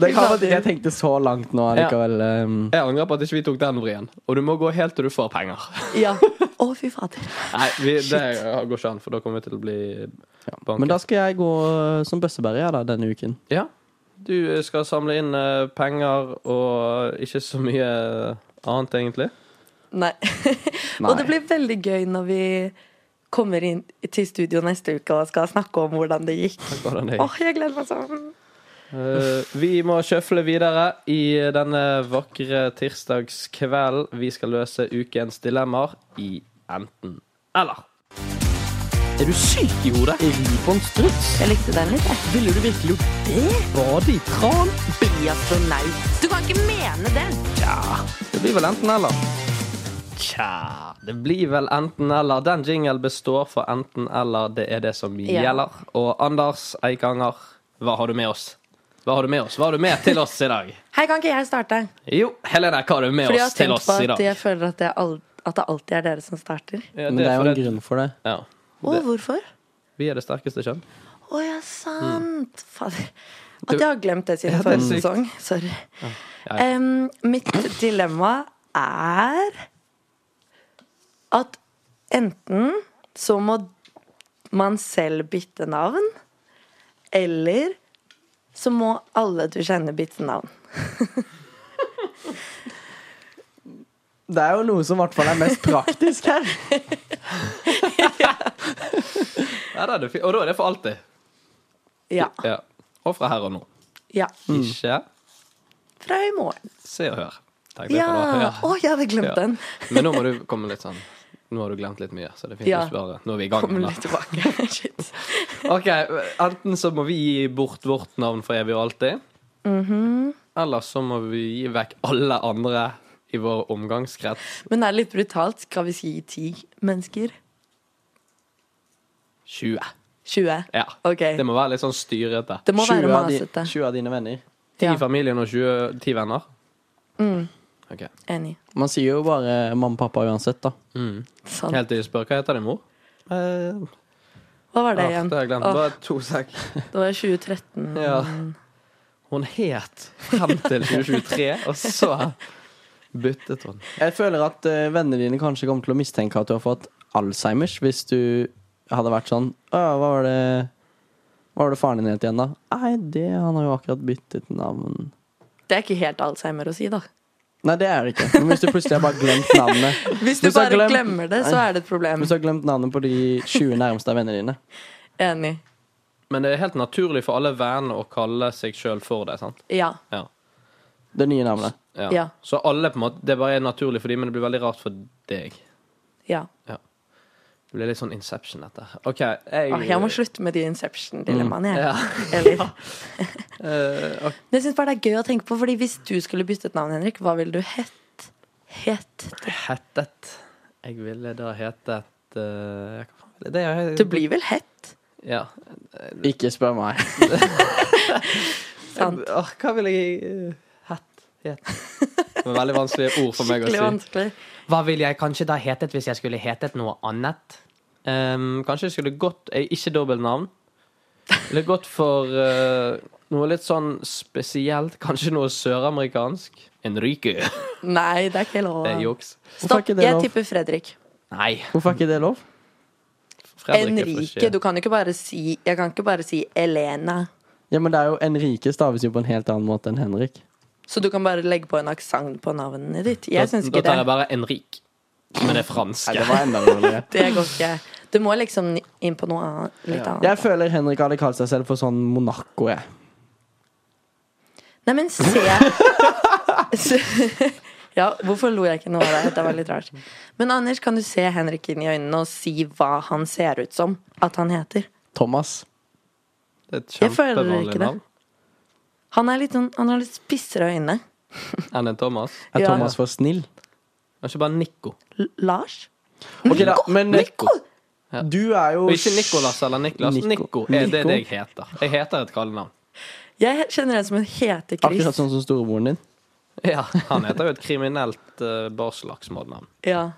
Speaker 3: det kan være at jeg tenkte så langt nå likevel. eh,
Speaker 1: Jeg angrer på at ikke vi tok den vrien. Og du må gå helt til du får penger.
Speaker 3: <laughs>
Speaker 4: Ja. Å, fy fader.
Speaker 1: Nei, vi, det går ikke an, for da kommer vi til å bli banket.
Speaker 3: Men da skal jeg gå eh, som bøssebærer ja, da, denne uken.
Speaker 1: Ja. Du skal samle inn eh, penger og ikke så mye eh, annet, egentlig.
Speaker 4: Nei. <laughs> Og det blir veldig gøy når vi kommer inn til studio neste uke og skal snakke om hvordan det gikk.
Speaker 1: Takk for den,
Speaker 4: Åh,
Speaker 1: jeg.
Speaker 4: jeg gleder meg sånn.
Speaker 1: Eh, vi må sjøfle videre i denne vakre tirsdagskvelden. Vi skal løse ukens dilemmaer i enten eller.
Speaker 2: Er du syk i hodet?
Speaker 4: Jeg likte den litt, jeg.
Speaker 2: Ville du virkelig gjort det? Bade i kran?
Speaker 4: Bli astronaut. Du kan ikke mene det.
Speaker 1: Det blir vel enten eller. Tja Det blir vel enten eller. Den jingle består for enten eller. Det er det som
Speaker 4: Ja.
Speaker 1: gjelder. Og Anders Eikanger, hva har du med oss? Hva har du med oss? Hva har du med til oss i dag?
Speaker 4: Hei, kan ikke jeg starte?
Speaker 1: Jo, Helene, hva har du med
Speaker 4: Fordi jeg
Speaker 1: oss
Speaker 4: har
Speaker 1: til
Speaker 4: tenkt
Speaker 1: oss
Speaker 4: på
Speaker 1: i
Speaker 4: at
Speaker 1: dag?
Speaker 4: jeg føler at, jeg al at det alltid er dere som starter.
Speaker 1: Ja,
Speaker 3: Men det er jo en
Speaker 1: fordi-
Speaker 3: grunn for det.
Speaker 1: Ja.
Speaker 4: Å, hvorfor?
Speaker 1: Vi er det sterkeste kjønn.
Speaker 4: Å ja, sant. Fader. At jeg har glemt det siden
Speaker 1: Mm. det er
Speaker 4: forrige
Speaker 1: sykt.
Speaker 4: sesong. Sorry.
Speaker 1: ja.
Speaker 4: Em, mitt dilemma er at enten så må man selv bytte navn, eller så må alle du kjenner, bytte navn.
Speaker 3: Det er jo noe som i hvert fall er mest
Speaker 4: <laughs>
Speaker 3: praktisk her.
Speaker 1: Ja, det er det fi- og da er det for alltid.
Speaker 4: Ja.
Speaker 1: Ja. Og fra her og nå.
Speaker 4: ja.
Speaker 1: Ikke
Speaker 4: Fra i morgen.
Speaker 1: se og hør. Tenk deg
Speaker 4: Ja!
Speaker 1: på det.
Speaker 4: Å, jeg hadde glemt
Speaker 1: Ja.
Speaker 4: den.
Speaker 1: <laughs> Men nå må du komme litt sånn Nå har du glemt litt mye, så det er fint
Speaker 4: Ja.
Speaker 1: å spørre. Nå er vi i gang.
Speaker 4: Kommer
Speaker 1: da.
Speaker 4: litt tilbake. <laughs> Shit.
Speaker 1: <laughs> Ok, Enten så må vi gi bort vårt navn for evig og alltid.
Speaker 4: Mhm.
Speaker 1: Eller så må vi gi vekk alle andre i vår omgangskrets.
Speaker 4: Men er det litt brutalt? Skal vi si ti mennesker?
Speaker 1: 20.
Speaker 4: 20?
Speaker 1: Ja.
Speaker 4: Ok.
Speaker 1: Det må være litt sånn styrete.
Speaker 4: Det må være
Speaker 3: av, di-
Speaker 4: masete.
Speaker 3: 20 av dine venner.
Speaker 1: Ti
Speaker 4: Ja, Mm.
Speaker 1: i familien og 20, ti venner. Ok,
Speaker 4: enig.
Speaker 3: Man sier jo bare mamma og pappa uansett, da.
Speaker 4: Sant.
Speaker 1: Helt til de spør hva heter din mor. Eh,
Speaker 4: Hva var det
Speaker 1: ah,
Speaker 4: igjen?
Speaker 1: det har jeg glemt.
Speaker 4: Åh,
Speaker 1: Bare to sek.
Speaker 4: det var 2013.
Speaker 1: Ja. Hun het frem til 2023, og så byttet hun.
Speaker 3: Jeg føler at eh, vennene dine kanskje kommer til å mistenke at du har fått Alzheimers hvis du hadde vært sånn Å, hva var det Hva var det faren din het igjen, da? Nei, det Han har jo akkurat byttet navn.
Speaker 4: Det er ikke helt Alzheimer å si, da.
Speaker 3: Nei, det er det ikke. Men hvis du plutselig har bare glemt navnet
Speaker 4: Hvis du
Speaker 3: Hvis jeg
Speaker 4: bare
Speaker 3: glem-
Speaker 4: glemmer det, så er det et problem.
Speaker 3: Hvis du har glemt navnet på de 20 nærmeste av vennene dine.
Speaker 4: Enig.
Speaker 1: Men det er helt naturlig for alle venner å kalle seg sjøl for det. sant?
Speaker 4: Ja.
Speaker 1: Ja.
Speaker 3: Det nye navnet.
Speaker 1: Ja.
Speaker 4: Ja.
Speaker 1: Så alle på en måte, det bare er naturlig for dem, men det blir veldig rart for deg.
Speaker 4: ja.
Speaker 1: Det blir litt sånn Inception, dette. OK, jeg,
Speaker 4: Åh, Ah, jeg må slutte med de Inception-dilemmaene, jeg.
Speaker 1: Mm. Ja.
Speaker 4: Eller.
Speaker 1: Eh, ok,
Speaker 4: Men jeg syns bare det er gøy å tenke på, Fordi hvis du skulle byttet navn, Henrik, hva ville du hett? Hett
Speaker 1: Hettet. Jeg ville da hetet eh, hva faen ville det jeg-
Speaker 4: Du blir vel hett?
Speaker 1: Ja.
Speaker 3: Ikke spør meg.
Speaker 4: Sant.
Speaker 1: Åh, hva ville jeg eh, hett? Het. Det var veldig vanskelige ord for meg å
Speaker 4: Skikkelig
Speaker 1: si.
Speaker 4: vanskelig.
Speaker 2: Hva ville jeg kanskje da hetet hvis jeg skulle hetet noe annet?
Speaker 1: Ehm, kanskje jeg skulle gått eh, Ikke dobbeltnavn. Ville gått for eh, noe litt sånn spesielt. Kanskje noe søramerikansk. Enrique.
Speaker 4: Nei, det er ikke lov.
Speaker 1: Det er juks.
Speaker 3: Hvorfor er
Speaker 4: Stopp.
Speaker 3: ikke det
Speaker 4: Jeg
Speaker 3: lov?
Speaker 4: tipper Fredrik.
Speaker 1: Nei.
Speaker 3: <laughs> Hvorfor er ikke det lov?
Speaker 1: Fredrik er for
Speaker 4: Enrique.
Speaker 1: skje.
Speaker 4: Du kan jo ikke bare si Jeg kan ikke bare si Elena.
Speaker 3: Ja, men det er jo Enrique staves jo på en helt annen måte enn Henrik.
Speaker 4: Så du kan bare legge på en aksent på navnet ditt. Jeg
Speaker 1: da,
Speaker 4: syns ikke
Speaker 1: da tar
Speaker 4: det.
Speaker 1: jeg bare Enrik. Men det er fransk.
Speaker 3: det var enda roligere.
Speaker 4: Det går ikke. Du må liksom inn på noe annet,
Speaker 3: <laughs>
Speaker 4: litt
Speaker 3: Jeg
Speaker 4: annet.
Speaker 3: føler Henrik hadde kalt seg selv for sånn Monaco, jeg.
Speaker 4: Nei, men se <laughs> Ja, hvorfor lo jeg ikke nå av det? Det var litt rart. Men Anders, kan du se Henrik inn i øynene og si hva han ser ut som at han heter?
Speaker 3: Thomas.
Speaker 1: Det er et
Speaker 4: Jeg føler ikke
Speaker 1: kjempevanlig
Speaker 4: det.
Speaker 1: navn.
Speaker 4: Han, er litt, sånn- han har litt spissere øyne.
Speaker 1: Enn en Thomas.
Speaker 3: Er
Speaker 4: Ja.
Speaker 3: Thomas for snill?
Speaker 1: Kanskje bare Nico.
Speaker 4: L Lars?
Speaker 3: Ok, da, men eh,
Speaker 4: Nico!
Speaker 3: du er jo
Speaker 1: Og ikke Nicolas eller Niklas.
Speaker 3: Nico.
Speaker 1: Nico er det
Speaker 3: Nico.
Speaker 1: det jeg heter. Jeg heter et kallenavn.
Speaker 4: Jeg kjenner en som en heter
Speaker 3: Akkurat
Speaker 4: Chris.
Speaker 1: sånn.
Speaker 3: sånn som storebroren din.
Speaker 4: Ja.
Speaker 1: Han heter jo et kriminelt uh, barslagsmålnavn.
Speaker 4: ja.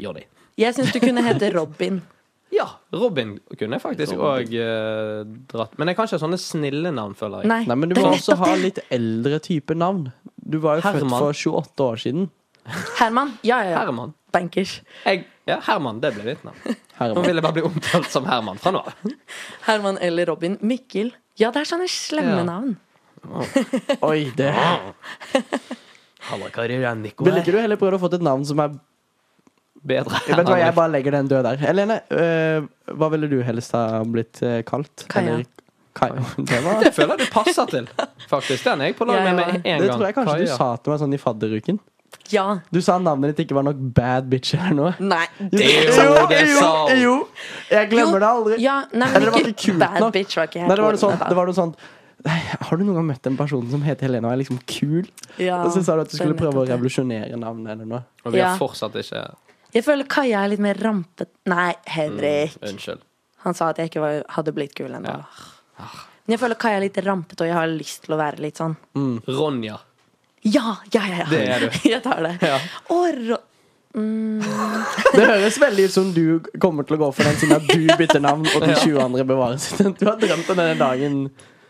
Speaker 1: Jordi.
Speaker 4: Jeg syns du kunne hete Robin.
Speaker 1: Ja, Robin kunne jeg faktisk òg dratt. Men jeg kan ikke ha sånne snille navn, føler jeg.
Speaker 4: Nei,
Speaker 3: Nei, men du
Speaker 4: det
Speaker 3: må
Speaker 4: er
Speaker 3: også
Speaker 4: nettopp
Speaker 3: ha
Speaker 4: det.
Speaker 3: litt eldre typer navn. Du var jo
Speaker 1: Herman.
Speaker 3: født for 28 år siden.
Speaker 4: Herman. Ja, ja, ja.
Speaker 1: Herman.
Speaker 4: Bankers.
Speaker 1: Jeg, ja, Herman. Det ble ditt navn. Nå
Speaker 3: Herman.
Speaker 1: vil jeg bare bli omtalt som Herman fra nå av.
Speaker 4: Herman eller Robin. Mikkel. Ja, det er sånne slemme
Speaker 1: Ja.
Speaker 4: navn.
Speaker 3: Oi, det
Speaker 1: Halla, karrieren, Nikolai.
Speaker 3: Ville ikke du heller prøvd å få et navn som er
Speaker 1: Bedre.
Speaker 3: Vet du hva, jeg bare legger den død der. Helene, øh, hva ville du helst ha blitt øh, kalt?
Speaker 4: Kaja.
Speaker 3: Eller- Kaja. <laughs> Det, var,
Speaker 1: Det føler jeg du passer til, faktisk. Den er jeg på lag med
Speaker 4: Ja, ja.
Speaker 1: med en gang.
Speaker 3: det tror jeg kanskje du
Speaker 1: Kaja.
Speaker 3: sa til meg sånn i fadderuken.
Speaker 4: Ja.
Speaker 3: Du sa navnet ditt ikke var nok bad bitch eller noe.
Speaker 4: Nei.
Speaker 3: Jo,
Speaker 1: jo, <laughs> det sa hun.
Speaker 3: jo. Jeg glemmer det aldri.
Speaker 4: Ja, nei, men
Speaker 3: Eller det var
Speaker 4: ikke
Speaker 3: ikke kult
Speaker 4: bad
Speaker 3: nok.
Speaker 4: bitch var ikke helt
Speaker 3: Nei, det var noe sånt.
Speaker 4: ordene, da.
Speaker 3: Det var noe sånt Nei, har du noen gang møtt en person som heter Helene og er liksom kul?
Speaker 4: Ja,
Speaker 3: og så sa du at du
Speaker 4: det er
Speaker 3: skulle prøve å
Speaker 4: nettopp det.
Speaker 3: revolusjonere navnet eller noe.
Speaker 1: Og vi har
Speaker 4: Ja.
Speaker 1: fortsatt ikke
Speaker 4: Jeg føler Kaja er litt mer rampet Nei, Henrik.
Speaker 3: Mm,
Speaker 1: Unnskyld.
Speaker 4: Han sa at jeg ikke var, hadde blitt kul ennå. Ah. Men jeg føler Kaja er litt rampete, og jeg har lyst til å være litt sånn.
Speaker 3: Mm.
Speaker 1: Ronja.
Speaker 4: Ja, ja, ja! ja.
Speaker 1: Det er du.
Speaker 4: <laughs> Jeg tar det.
Speaker 1: Ja.
Speaker 4: Og ro
Speaker 3: Det høres veldig ut som du kommer til å gå for den siden at du bytter navn,
Speaker 1: <laughs>
Speaker 3: og de 20 andre bevarer sitt. <laughs> Du har drømt om denne dagen.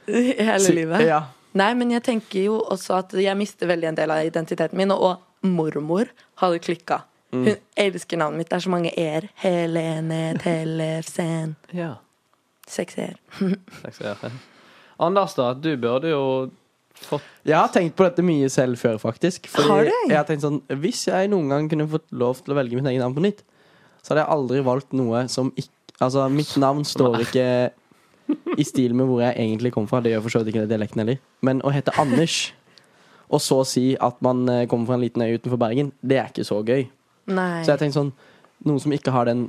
Speaker 4: hele livet.
Speaker 3: Ja.
Speaker 4: Nei, men jeg tenker jo også at jeg mister veldig en del av identiteten min, og mormor hadde klikka. Hun elsker navnet mitt. Det er så mange e-er. Helene Tellefsen.
Speaker 1: Ja.
Speaker 4: Seks e-er.
Speaker 1: Takk skal du ha. Anders, da. Du burde jo fått
Speaker 3: Jeg har tenkt på dette mye selv før, faktisk. Fordi
Speaker 4: Har du?
Speaker 3: jeg har tenkt sånn Hvis jeg noen gang kunne fått lov til å velge mitt eget navn på nytt, så hadde jeg aldri valgt noe som ikke Altså, mitt navn står ikke i stil med hvor jeg egentlig kom fra. Det gjør for så vidt ikke det dialekten heller. Men å hete Anders, og så si at man eh, kommer fra en liten øy utenfor Bergen, det er ikke så gøy.
Speaker 4: Nei.
Speaker 3: Så jeg tenkte sånn Noen som ikke har den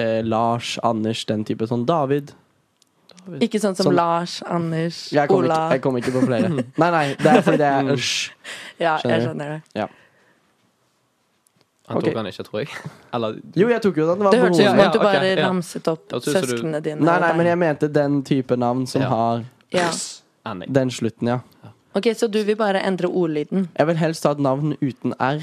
Speaker 3: eh, Lars, Anders, den type sånn David.
Speaker 4: Ikke sånn som
Speaker 3: Sånn-
Speaker 4: Lars, Anders,
Speaker 3: Jeg kom, ikke,
Speaker 4: Ola.
Speaker 3: jeg kom ikke på flere. Nei, nei, det er fordi det
Speaker 4: <laughs>
Speaker 3: er
Speaker 4: ja, jeg
Speaker 3: skjønner.
Speaker 4: skjønner det.
Speaker 3: Ja.
Speaker 1: Han
Speaker 3: Ok.
Speaker 1: tok han ikke, tror jeg. Eller
Speaker 3: Jo, jeg tok jo den. Det var
Speaker 4: Det hørtes ut
Speaker 3: broren
Speaker 4: som
Speaker 1: Ja,
Speaker 4: at du
Speaker 1: ja, ok,
Speaker 4: bare
Speaker 1: ja.
Speaker 4: ramset opp
Speaker 1: Jeg synes du-
Speaker 4: søsknene dine.
Speaker 3: Nei,
Speaker 4: og
Speaker 3: nei,
Speaker 4: deg.
Speaker 3: men jeg mente den type navn som
Speaker 1: Ja.
Speaker 3: har
Speaker 4: ja.
Speaker 1: Annie.
Speaker 3: den slutten, ja.
Speaker 4: Ok, Så du vil bare endre ordlyden?
Speaker 3: Jeg vil helst ha et navn uten R,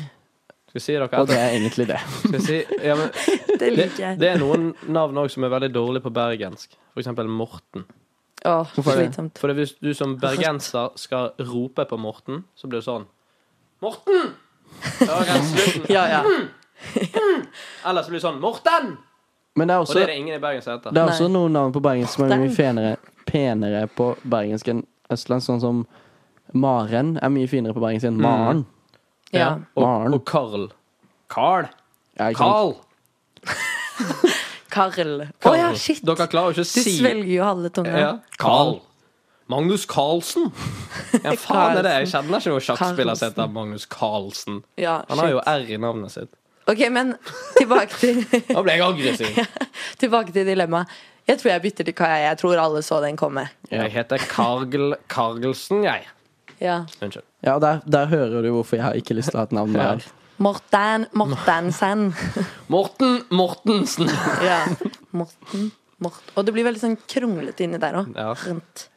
Speaker 1: Skal vi si dere
Speaker 3: og det
Speaker 1: etter?
Speaker 3: er egentlig det.
Speaker 1: Skal vi si, ja, men,
Speaker 4: Det
Speaker 1: det,
Speaker 4: liker jeg.
Speaker 1: det er noen navn òg som er veldig dårlige på bergensk. For eksempel Morten.
Speaker 4: Åh,
Speaker 3: Hvorfor er det?
Speaker 4: slitsomt.
Speaker 1: For hvis du som bergenser skal rope på Morten, så blir det sånn Morten! Ja, ok, slutten.
Speaker 4: Ja, ja.
Speaker 1: Eller så blir det sånn Morten!
Speaker 3: Men det er
Speaker 1: Og det
Speaker 3: også,
Speaker 1: er det ingen i Bergen som heter.
Speaker 3: det er også
Speaker 4: Nei.
Speaker 3: noen navn på bergensk som er mye
Speaker 4: Den.
Speaker 3: fenere, penere på bergensk enn østlandsk, sånn som Maren er mye finere på bergensk
Speaker 1: Mm.
Speaker 3: enn Maren.
Speaker 4: ja.
Speaker 1: Og,
Speaker 3: Maren.
Speaker 1: og Karl. Karl.
Speaker 3: Ja, ikke sant?
Speaker 1: Karl.
Speaker 4: Karl. Å
Speaker 1: Karl.
Speaker 4: ja, shit!
Speaker 1: Dere klarer jo ikke å
Speaker 4: Du
Speaker 1: si
Speaker 4: svelger jo halve tunga.
Speaker 1: ja. Karl. Magnus Carlsen. Ja, faen er det? Jeg kjenner ikke noen sjakkspiller som heter Magnus Carlsen.
Speaker 4: Ja,
Speaker 1: Han har jo
Speaker 4: shit.
Speaker 1: R i navnet sitt.
Speaker 4: Ok, men tilbake til, <laughs>
Speaker 1: Da ble jeg aggressiv.
Speaker 4: tilbake til dilemmaet. Jeg tror jeg bytter til Kaja. Jeg tror alle så den komme.
Speaker 1: Jeg heter Kargel Kargelsen, jeg.
Speaker 4: Ja.
Speaker 1: Unnskyld.
Speaker 3: Ja, og der, der hører du hvorfor jeg har ikke lyst til å ha et navn med
Speaker 1: Ja.
Speaker 3: R.
Speaker 4: Morten
Speaker 3: <laughs>
Speaker 4: Mortensen.
Speaker 1: Morten Mortensen.
Speaker 4: Ja. Morten Mort. Og det blir veldig sånn kronglete inni der òg.
Speaker 1: Ja.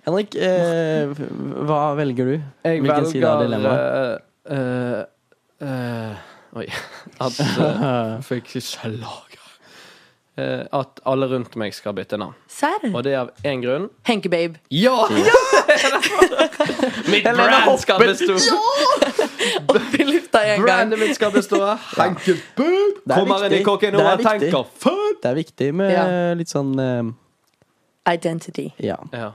Speaker 3: Henrik, eh, hva velger du?
Speaker 1: Jeg
Speaker 3: Hvilken side av dilemmaet?
Speaker 1: velger eh, eh, eh, Oi. At eh,
Speaker 3: <laughs>
Speaker 1: Fikk slag. Eh, at alle rundt meg skal bytte navn.
Speaker 4: Serr?
Speaker 1: Og det er av én grunn.
Speaker 4: Henke-babe.
Speaker 1: Ja! <laughs> mitt brand skal bestå!
Speaker 4: Opp <laughs> i lufta i en gang.
Speaker 1: Brandet mitt skal bestå.
Speaker 3: <laughs>
Speaker 1: Henke Boob
Speaker 3: er
Speaker 1: kommer inn i
Speaker 3: viktig.
Speaker 1: kokken og
Speaker 3: Det er
Speaker 1: han
Speaker 3: viktig.
Speaker 1: tenker fun!
Speaker 3: Det er viktig med
Speaker 4: Ja.
Speaker 3: litt sånn eh,
Speaker 4: Identity.
Speaker 3: Ja.
Speaker 1: Ja.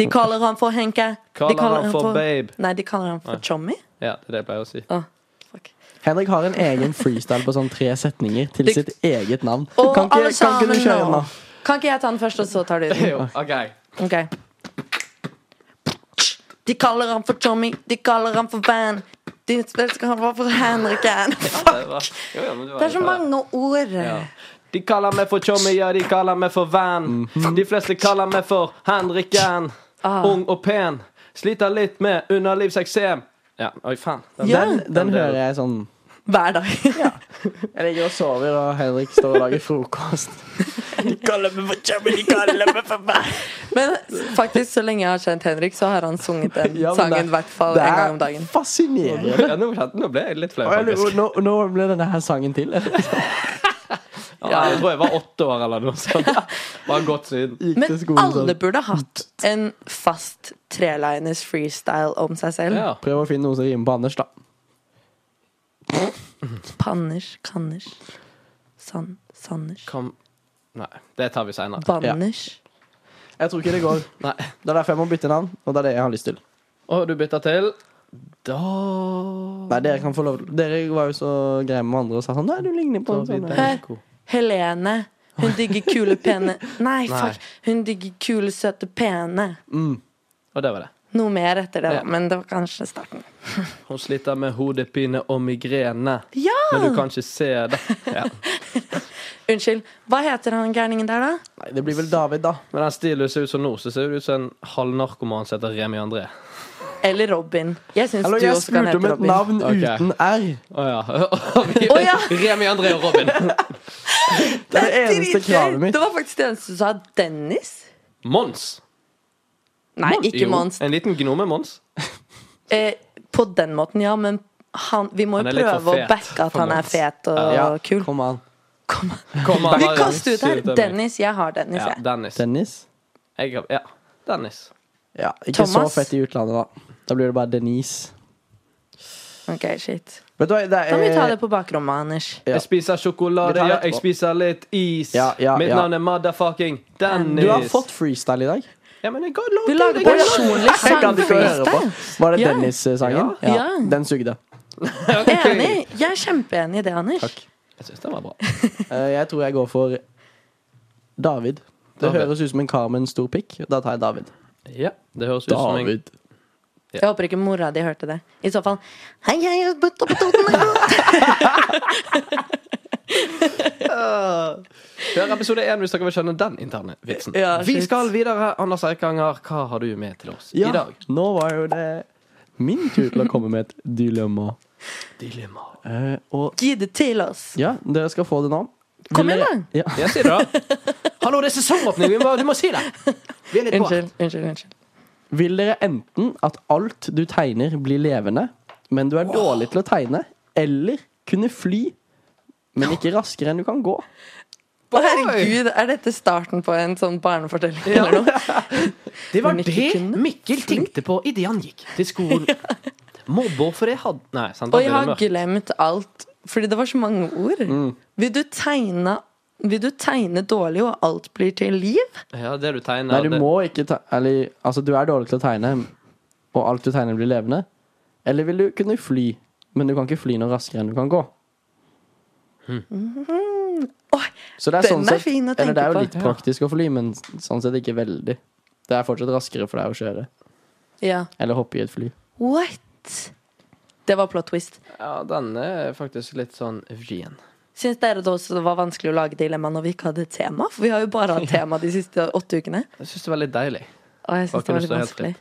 Speaker 4: De kaller han for Henke.
Speaker 1: Kaller
Speaker 4: de
Speaker 1: han for babe.
Speaker 4: Nei, de kaller han for Chommy.
Speaker 1: ja, det er det jeg pleier å
Speaker 3: <laughs>
Speaker 1: si.
Speaker 4: Å, fuck.
Speaker 3: Henrik har en egen freestyle på sånn tre setninger til
Speaker 4: Det-
Speaker 3: sitt eget navn.
Speaker 4: Og
Speaker 3: Kan ikke,
Speaker 4: alle
Speaker 3: kan ikke du
Speaker 4: sammen
Speaker 3: kjøre den,
Speaker 4: nå.
Speaker 3: da?
Speaker 4: Kan ikke jeg ta den først, og så tar du den?
Speaker 1: Jo, ok
Speaker 4: Ok De kaller han for Tommy, de kaller han for Van. De elsker han bare for Henriken.
Speaker 1: Det var- jo, ja, men var
Speaker 4: Det er så
Speaker 1: litt-
Speaker 4: mange ord.
Speaker 1: Ja. De kaller meg for Tjommi, ja, de kaller meg for Van. De fleste kaller meg for Henriken. Ung og pen. Sliter litt med underlivseksem. Ja, oi, faen. Den-
Speaker 4: Ja.
Speaker 3: Den, den
Speaker 1: Den
Speaker 3: hører jeg sånn
Speaker 4: Hver dag.
Speaker 3: Jeg ligger og sover, og Henrik står og lager <laughs> frokost.
Speaker 2: Kaller meg for chubby, de kaller meg
Speaker 1: <laughs>
Speaker 2: for meg.
Speaker 4: Men faktisk, så lenge jeg har kjent Henrik, så har han sunget den sangen i hvert fall en gang om dagen.
Speaker 3: Det er fascinerende.
Speaker 1: Ja, nå, nå ble jeg litt flau,
Speaker 3: Og jeg lurer-
Speaker 1: faktisk.
Speaker 3: Nå, nå ble denne her sangen til.
Speaker 1: Ja, nei, jeg tror jeg var åtte år eller noe sånt. Bare godt siden.
Speaker 3: Gikk til
Speaker 4: Men
Speaker 3: skolen
Speaker 4: alle
Speaker 3: sånn.
Speaker 4: burde hatt en fast treliners freestyle om seg selv.
Speaker 1: Ja.
Speaker 3: Prøv å finne noe som rimer på Anders, da.
Speaker 4: Panners, kanners, san, sanners,
Speaker 1: Kom. Nei, det tar vi seinere.
Speaker 4: banners.
Speaker 3: Jeg tror ikke det
Speaker 4: <laughs>
Speaker 3: går.
Speaker 1: Nei.
Speaker 3: Det er derfor jeg må bytte navn, og det er det jeg har lyst til.
Speaker 1: Og du bytter til Da
Speaker 3: Nei, Dere kan få lov Dere var jo så greie med andre og sa sånn Nei, du ligner på en
Speaker 1: Så vi
Speaker 3: sånn
Speaker 4: Hei.
Speaker 1: Danko.
Speaker 4: Helene. Hun digger kule, pene
Speaker 1: Nei.
Speaker 4: Nei, fuck. Hun digger kule, søte, pene.
Speaker 1: Og det var det.
Speaker 4: Noe mer etter det,
Speaker 1: Ja.
Speaker 4: da. Men det var kanskje starten.
Speaker 1: Hun sliter med hodepine og migrene.
Speaker 4: Ja!
Speaker 1: Men du kan ikke se det. Ja.
Speaker 4: Unnskyld. Hva heter han gærningen der, da?
Speaker 3: Nei, det blir vel David, da.
Speaker 1: Men den stilen ser ut som nå, så ser det ut som en halvnarkoman som heter Remi André.
Speaker 4: Eller Robin. Jeg syns du
Speaker 3: Eller jeg
Speaker 4: også kan
Speaker 3: spurte om
Speaker 4: hete
Speaker 3: et
Speaker 4: Robin.
Speaker 3: navn
Speaker 1: Ok.
Speaker 3: uten R.
Speaker 1: Å <laughs> ja. Vi-
Speaker 4: Å ja.
Speaker 1: Remi André og Robin.
Speaker 3: Det er det eneste
Speaker 4: Dritgøy.
Speaker 3: kravet mitt.
Speaker 4: Det var faktisk det eneste du sa. Dennis?
Speaker 1: Mons.
Speaker 4: Nei, ikke
Speaker 1: Jo,
Speaker 4: Mons.
Speaker 1: En liten gnome Mons.
Speaker 4: Eh, på den måten, ja, men han, vi må
Speaker 1: Han
Speaker 4: jo
Speaker 1: er litt for
Speaker 4: prøve å
Speaker 1: fet
Speaker 4: backe at
Speaker 1: for
Speaker 4: han er
Speaker 1: Mons.
Speaker 4: fet og
Speaker 3: Ja,
Speaker 4: kul.
Speaker 3: Kom an.
Speaker 4: Kom an.
Speaker 1: Kom, han
Speaker 4: Vi
Speaker 1: var-
Speaker 4: kaster ut her.
Speaker 1: Syv til meg.
Speaker 4: Dennis. Jeg har Dennis,
Speaker 1: Ja,
Speaker 4: jeg.
Speaker 1: Dennis.
Speaker 3: Dennis.
Speaker 1: Jeg, har- ja, Dennis.
Speaker 3: Ja, ikke
Speaker 4: Thomas?
Speaker 3: så fett i utlandet, da. Da blir det bare Denise.
Speaker 4: Ok, shit.
Speaker 3: Vet du hva, det er
Speaker 4: Kan vi ta det på bakrommet, Anders?
Speaker 3: Ja.
Speaker 1: Jeg spiser sjokolade,
Speaker 3: Vi tar
Speaker 1: ja,
Speaker 3: etterpå.
Speaker 1: jeg spiser litt is.
Speaker 3: Ja, ja,
Speaker 1: Mitt
Speaker 3: ja.
Speaker 1: navn er motherfucking Dennis.
Speaker 3: Du har fått freestyle i dag.
Speaker 1: ja, men jeg ga
Speaker 4: Du
Speaker 1: lov
Speaker 4: lager
Speaker 1: til deg.
Speaker 4: personlig
Speaker 3: Jeg gadd ikke å høre på.
Speaker 4: sangfreestyle.
Speaker 3: Var det
Speaker 4: Ja.
Speaker 3: Dennis-sangen?
Speaker 4: Ja.
Speaker 3: Den sugde.
Speaker 4: <laughs> Enig.
Speaker 3: <laughs>
Speaker 4: Jeg er kjempeenig i det, Anders.
Speaker 1: Jeg syns den var bra.
Speaker 3: Eh, Jeg tror jeg går for David. Det
Speaker 1: David.
Speaker 3: høres ut som en kar med en stor pikk. Da tar jeg David.
Speaker 1: Ja, det høres ut som en
Speaker 4: Jeg håper ikke mora di hørte det. I så fall Hei, hei, butta på toten.
Speaker 3: <laughs>
Speaker 1: Hør episode 1 hvis dere vil skjønne den interne vitsen.
Speaker 4: Ja,
Speaker 1: Vi
Speaker 4: shit.
Speaker 1: skal videre. Anders Eikanger, hva har du med til oss
Speaker 3: Ja,
Speaker 1: i dag?
Speaker 3: nå var jo det min tur til å komme med et dilemma.
Speaker 1: Dilemma.
Speaker 3: Eh, og
Speaker 4: Gi det til oss.
Speaker 3: ja, dere skal få det nå.
Speaker 4: Kom igjen,
Speaker 3: Vil
Speaker 4: da.
Speaker 3: dere- Ja.
Speaker 1: Ja, si det, da. Hallo, det er sesongåpning! Vi må, du må si det! Vi er litt på.
Speaker 4: Unnskyld. unnskyld, unnskyld
Speaker 3: Vil dere enten at alt du tegner, blir levende, men du er dårlig til å tegne, eller kunne fly, men ikke raskere enn du kan gå?
Speaker 4: Å, herregud, er dette starten på en sånn barnefortelling? eller noe?
Speaker 1: Det var
Speaker 4: Men ikke
Speaker 1: det
Speaker 4: kunne.
Speaker 1: Mikkel tenkte på idet han gikk til skolen. Mobber for det hadde Nei, sant? da
Speaker 4: Og jeg
Speaker 1: blir det
Speaker 4: har
Speaker 1: mørkt.
Speaker 4: glemt alt, fordi det var så mange ord.
Speaker 3: Mm.
Speaker 4: Vil du tegne vil du tegne dårlig, og alt blir til liv?
Speaker 1: Ja, det du tegner
Speaker 3: Nei, du
Speaker 1: det-
Speaker 3: må ikke ta... Eller, altså, du er dårlig til å tegne, og alt du tegner, blir levende. Eller vil du kunne fly, men du kan ikke fly noe raskere enn du kan gå?
Speaker 4: Åh,
Speaker 3: Så det er
Speaker 4: Den
Speaker 3: sånn
Speaker 4: er
Speaker 3: sett,
Speaker 4: fin å tenke
Speaker 3: eller det er jo
Speaker 4: på.
Speaker 3: litt praktisk å fly, men sånn sett ikke veldig. Det er fortsatt raskere for deg å kjøre.
Speaker 4: ja.
Speaker 3: Eller hoppe i et fly.
Speaker 4: What? Det var plot twist.
Speaker 1: Ja, den er faktisk litt sånn vrien.
Speaker 4: Syns dere det også var vanskelig å lage dilemma når vi ikke hadde tema? For vi har jo bare
Speaker 1: <laughs>
Speaker 4: hatt tema de siste åtte ukene.
Speaker 1: Jeg syns det var litt deilig.
Speaker 4: Og jeg
Speaker 1: Hva
Speaker 4: synes det
Speaker 1: kunne
Speaker 4: var litt
Speaker 1: stå helt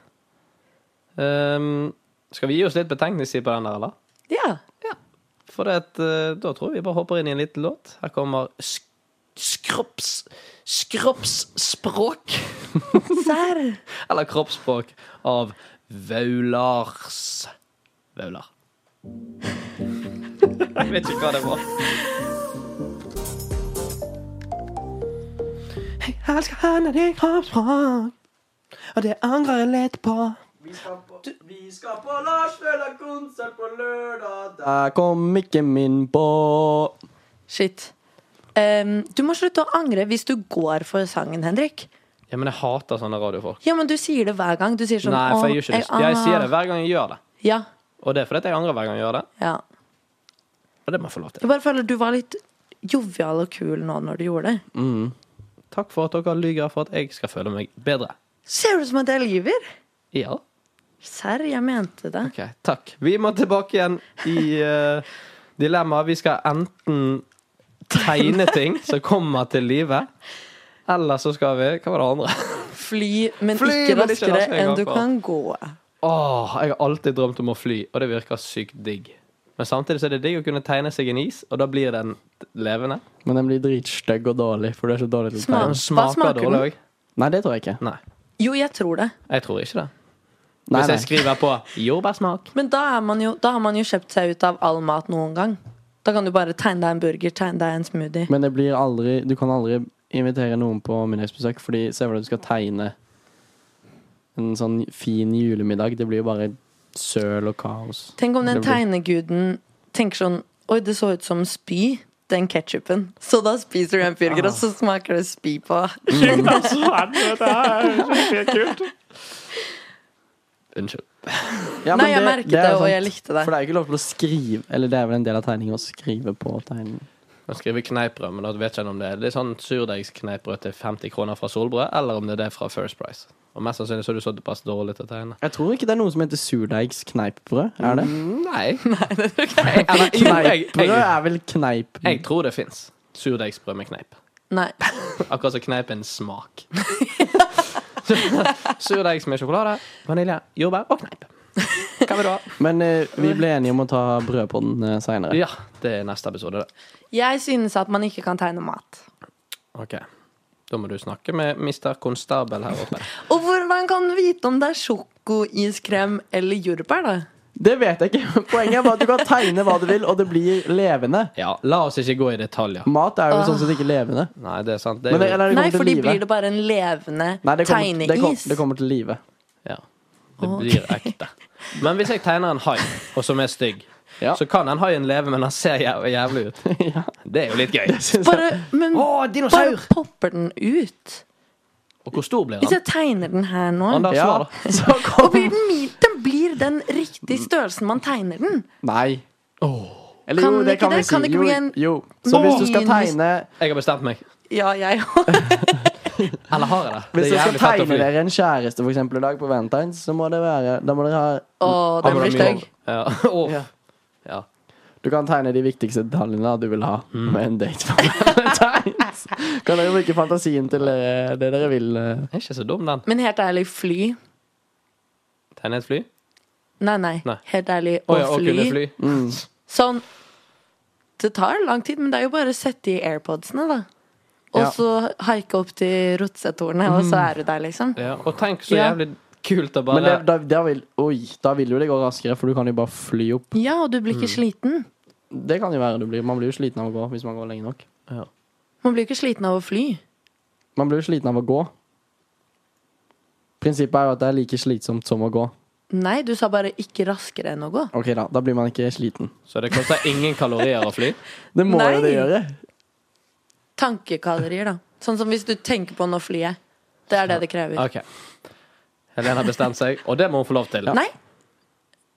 Speaker 4: vanskelig.
Speaker 1: Ehm, skal vi gi oss litt betenkningstid på den der, eller?
Speaker 4: Ja.
Speaker 1: For det at, eh, da tror jeg vi bare hopper inn i en liten låt. Her kommer sk skropps... Skroppsspråk. <laughs>
Speaker 4: Serr.
Speaker 1: Eller kroppsspråk av Vaulars Vaular. <laughs> Jeg vet ikke hva det var.
Speaker 2: Jeg elsker henne, din kroppsspråk. Og det angrer jeg litt på.
Speaker 3: Vi skal på Lars Vøller-konsert på lørdag. Der kom ikke min på.
Speaker 4: Shit. Em, du må slutte å angre hvis du går for sangen, Henrik.
Speaker 1: Ja, men jeg hater sånne radiofolk.
Speaker 4: Ja, men du sier det hver gang. Du sier sånn
Speaker 1: Nei, for jeg gjør
Speaker 4: «Åh,
Speaker 1: ikke det.
Speaker 4: ah».
Speaker 1: Jeg sier det hver gang jeg gjør det.
Speaker 4: Ja,
Speaker 1: Og det er fordi at jeg angrer hver gang jeg gjør det.
Speaker 4: ja.
Speaker 1: Og det må jeg få lov til.
Speaker 4: Jeg bare føler du var litt jovial og kul nå når du gjorde det.
Speaker 1: Mm. Takk for at dere lyver for at jeg skal føle meg bedre.
Speaker 4: Ser du som at jeg lyver?
Speaker 1: Ja.
Speaker 4: Serr, jeg mente det.
Speaker 1: Ok, takk. Vi må tilbake igjen i uh, dilemmaet. Vi skal enten tegne ting som kommer til live, eller så skal vi Hva var det andre?
Speaker 4: Fly, men
Speaker 1: Fly,
Speaker 4: ikke
Speaker 1: men ikke
Speaker 4: raskere
Speaker 1: raskere
Speaker 4: enn
Speaker 1: enn
Speaker 4: du
Speaker 1: på.
Speaker 4: kan gå.
Speaker 1: Åh, jeg har alltid drømt om å fly, og det virker sykt digg. Men samtidig så er det digg å kunne tegne seg en is, og da blir den levende.
Speaker 3: Men den blir dritstygg og dårlig, for du er så dårlig til å
Speaker 4: Smak.
Speaker 3: tegne.
Speaker 1: Den smaker,
Speaker 4: smaker den?
Speaker 1: dårlig òg.
Speaker 3: Nei, det tror jeg ikke.
Speaker 1: Nei,
Speaker 4: Jo, jeg tror det.
Speaker 1: jeg tror ikke det.
Speaker 3: Nei,
Speaker 1: Hvis jeg
Speaker 3: nei.
Speaker 1: skriver på jordbærsmak
Speaker 4: Men da, er man jo, da har man jo kjøpt seg ut av all mat noen gang. Da kan du bare tegne deg en burger, tegne deg en smoothie.
Speaker 3: Men det blir aldri Du kan aldri invitere noen på middagsbesøk, fordi se for deg at du skal tegne en sånn fin julemiddag. Det blir jo bare søl og kaos.
Speaker 4: Tenk om den
Speaker 3: Det blir-
Speaker 4: tegneguden tenker sånn Oi, det så ut som spy, den ketsjupen. Så da spiser du en burger, og så smaker det spy på.
Speaker 3: Mm.
Speaker 1: Unnskyld.
Speaker 3: Ja, men
Speaker 4: Nei, jeg merket det,
Speaker 3: er
Speaker 4: og
Speaker 3: sant.
Speaker 4: jeg likte det.
Speaker 3: For det er jo ikke lov til å skrive Eller det er vel en del av tegningen å skrive på tegningen.
Speaker 1: Jeg skriver kneippbrød, men da vet ikke jeg om det er litt sånn surdeigskneippbrød til 50 kroner fra Solbrød, eller om det er det fra First Price. Og mest sannsynlig så er du såpass dårlig til å tegne.
Speaker 3: Jeg tror ikke det er noe som heter surdeigs kneipbrød. Er det?
Speaker 1: <laughs> Nei. Eller, jo, jeg,
Speaker 3: Kneipbrød
Speaker 1: jeg,
Speaker 3: er vel kneip...
Speaker 1: jeg tror det fins surdeigsbrød med kneip.
Speaker 4: Nei.
Speaker 1: Akkurat som kneip er en <laughs> smak. Surdeigs med sjokolade, vanilje, jordbær og kneip. Hva vil du ha?
Speaker 3: Men eh, vi ble enige om å ta brødpodden uh, seinere.
Speaker 1: <laughs> Ja, det er neste episode, det.
Speaker 4: Jeg synes at man ikke kan tegne mat.
Speaker 1: Ok. Da må du snakke med Mr. Konstabel her oppe.
Speaker 4: Og hvordan kan du vite om det er sjokoiskrem eller jordbær, da?
Speaker 3: Det vet jeg ikke. <laughs> Poenget er bare at du kan tegne hva du vil, og det blir levende.
Speaker 1: Ja, la oss ikke gå i detaljer.
Speaker 3: Mat er jo sånn sett ikke levende.
Speaker 1: Nei, det er sant. Det
Speaker 3: Men det,
Speaker 1: er jo,
Speaker 3: eller det
Speaker 4: Nei,
Speaker 3: kommer
Speaker 4: fordi
Speaker 3: til live.
Speaker 4: blir det bare en
Speaker 3: Nei,
Speaker 4: levende
Speaker 3: det kommer, det, kom,
Speaker 4: tegneis.
Speaker 3: det kommer til live.
Speaker 1: ja, det blir ekte. Men hvis jeg tegner en hai, og som er stygg,
Speaker 3: Ja.
Speaker 1: så kan den haien leve, men den ser jæv jævlig ut.
Speaker 3: <laughs> ja.
Speaker 1: Det er jo litt gøy.
Speaker 4: Bare, men
Speaker 1: Å,
Speaker 4: bare
Speaker 1: dinosaur!
Speaker 4: popper den ut.
Speaker 1: Og hvor stor blir
Speaker 4: Hvis
Speaker 1: den?
Speaker 4: jeg tegner den her nå
Speaker 1: Anders,
Speaker 3: Ja.
Speaker 1: svar,
Speaker 4: <laughs>
Speaker 1: da.
Speaker 3: Så
Speaker 4: Og
Speaker 3: kom
Speaker 4: blir den, min- den blir den riktige størrelsen man tegner den.
Speaker 3: Nei. Eller
Speaker 4: Kan
Speaker 3: jo, det
Speaker 4: ikke
Speaker 3: kan vi
Speaker 4: det?
Speaker 3: si.
Speaker 4: Kan det ikke
Speaker 3: Jo,
Speaker 4: bli en
Speaker 3: jo. Så hvis du skal
Speaker 4: minus-
Speaker 3: tegne
Speaker 1: Jeg har bestemt meg.
Speaker 4: Ja, jeg <laughs>
Speaker 1: Eller har jeg det?
Speaker 3: Hvis
Speaker 1: det er
Speaker 3: dere skal
Speaker 1: jævlig fett å
Speaker 3: tegne
Speaker 1: fly.
Speaker 3: dere en kjæreste for eksempel, i dag på Valentine's, så må det være Da må dere ha
Speaker 4: Å, den
Speaker 1: Har
Speaker 4: blir
Speaker 1: du det mye?
Speaker 4: stygg.
Speaker 1: Ja. <laughs> Å,
Speaker 3: Ja.
Speaker 1: ja.
Speaker 3: Du kan tegne de viktigste detaljene du vil ha med en date. på Valentine's. kan dere bruke fantasien til eh, det dere vil? eh.
Speaker 1: Den er ikke så dum, den.
Speaker 4: Men helt ærlig, fly
Speaker 1: Tegne et fly?
Speaker 4: Nei, nei.
Speaker 1: Nei.
Speaker 4: Helt ærlig,
Speaker 1: Å
Speaker 4: å
Speaker 1: ja, å
Speaker 4: fly.
Speaker 1: kunne fly.
Speaker 4: Sånn Det tar lang tid, men det er jo bare å sette i airpodsene, da. Og
Speaker 3: Ja.
Speaker 4: så haike opp til Rotsetornet, og så er du der, liksom.
Speaker 1: Ja. Og tenk så
Speaker 4: Ja.
Speaker 1: jævlig kult å
Speaker 3: Men
Speaker 1: bare
Speaker 3: det, da, da, vil, oi, da vil jo det gå raskere, for du kan jo bare fly opp.
Speaker 4: Ja, og du blir
Speaker 1: Mm.
Speaker 4: ikke sliten.
Speaker 3: Det kan jo være du blir. Man blir jo sliten av å gå hvis man går lenge nok.
Speaker 4: Man blir ikke sliten av å fly.
Speaker 3: Man blir jo sliten av å gå. Prinsippet er jo at det er like slitsomt som å gå.
Speaker 4: Nei, du sa bare 'ikke raskere enn å gå'.
Speaker 3: Ok Da da blir man ikke sliten.
Speaker 1: Så det koster ingen kalorier å
Speaker 3: <laughs>
Speaker 1: fly?
Speaker 3: Det må jo det
Speaker 4: Nei.
Speaker 3: gjøre.
Speaker 4: Tankekalorier, da. Sånn som hvis du tenker på nå flyet. Det er det det krever.
Speaker 1: OK. Helene har bestemt seg, og det må hun få lov til.
Speaker 4: Nei?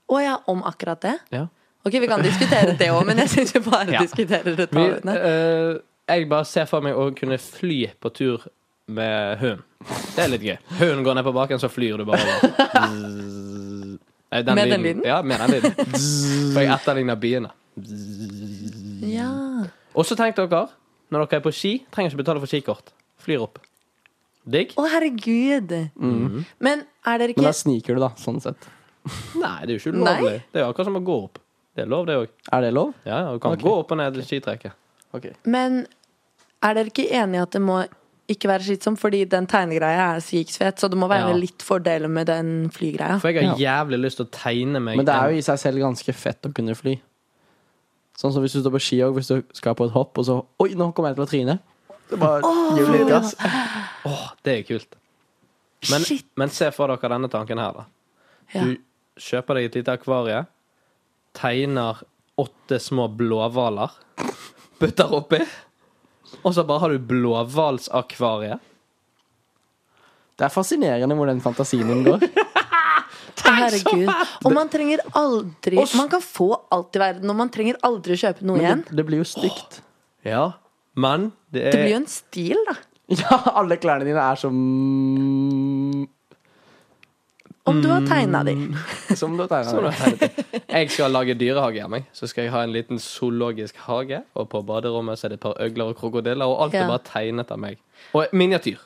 Speaker 4: Å ja, om akkurat det?
Speaker 1: Ja.
Speaker 4: Ok, vi kan diskutere det òg, men jeg syns vi bare
Speaker 1: Ja.
Speaker 4: diskuterer
Speaker 1: Vi,
Speaker 4: detaljene.
Speaker 1: eh, jeg bare ser for meg å kunne fly på tur med hund. Det er litt gøy. Hunden går ned på baken, så flyr du bare over. Zzz. Eh,
Speaker 4: Med den lyden?
Speaker 1: Ja, med den lyden. Zzz. For jeg etterligner biene.
Speaker 4: Ja.
Speaker 1: Og så tenk dere, når dere er på ski, trenger ikke betale for skikort. Flyr opp. Digg?
Speaker 4: Å, herregud.
Speaker 1: Mhm.
Speaker 4: Men er dere
Speaker 3: Men da
Speaker 4: ikke
Speaker 3: sniker du, da. Sånn sett.
Speaker 1: Nei, det er jo ikke ulovlig.
Speaker 4: Nei.
Speaker 1: Det er jo akkurat som å gå opp. Det er lov, det òg.
Speaker 3: Er det lov?
Speaker 1: Ja, ja, du kan
Speaker 3: Ok.
Speaker 1: gå opp og ned skitrekket.
Speaker 3: Ok
Speaker 4: Men er dere ikke enige at det må ikke være slitsomt? Fordi den tegnegreia er sykt fet, så det må være
Speaker 1: Ja.
Speaker 4: litt fordeler med den flygreia.
Speaker 1: For jeg har jævlig lyst til å tegne meg
Speaker 3: Men det er jo i seg selv ganske fett å kunne fly. Sånn som hvis du står på ski og hvis du skal på et hopp, og så Oi, nå kommer jeg til å tryne. Det bare gir litt gass.
Speaker 1: Åh, det er kult. Men,
Speaker 4: Shit.
Speaker 1: men se for dere denne tanken her, da.
Speaker 4: Ja.
Speaker 1: Du kjøper deg et lite akvarie, tegner åtte små blåhvaler, <laughs> putter oppi, og så bare har du blåhvalsakvarie.
Speaker 3: Det er fascinerende hvor den fantasien din går.
Speaker 4: Å, herregud. Og man trenger aldri
Speaker 1: Og s-
Speaker 4: Man kan få alt i verden, og man trenger aldri å kjøpe noe
Speaker 3: Men
Speaker 4: igjen.
Speaker 3: det, det blir jo stygt. <laughs>
Speaker 1: Ja. Men det
Speaker 4: Det
Speaker 1: <laughs>
Speaker 4: blir
Speaker 1: er
Speaker 4: jo en stil, da.
Speaker 3: Ja, alle klærne dine er som
Speaker 4: Om du
Speaker 1: Mm.
Speaker 4: har tegna de.
Speaker 3: Som du har tegna.
Speaker 1: Sånn Jeg skal lage dyrehage hjemme. Så skal jeg ha en liten zoologisk hage, og på baderommet så er det et par øgler og krokodiller, og alt
Speaker 4: Ja.
Speaker 1: er bare tegnet av meg. Og miniatyr.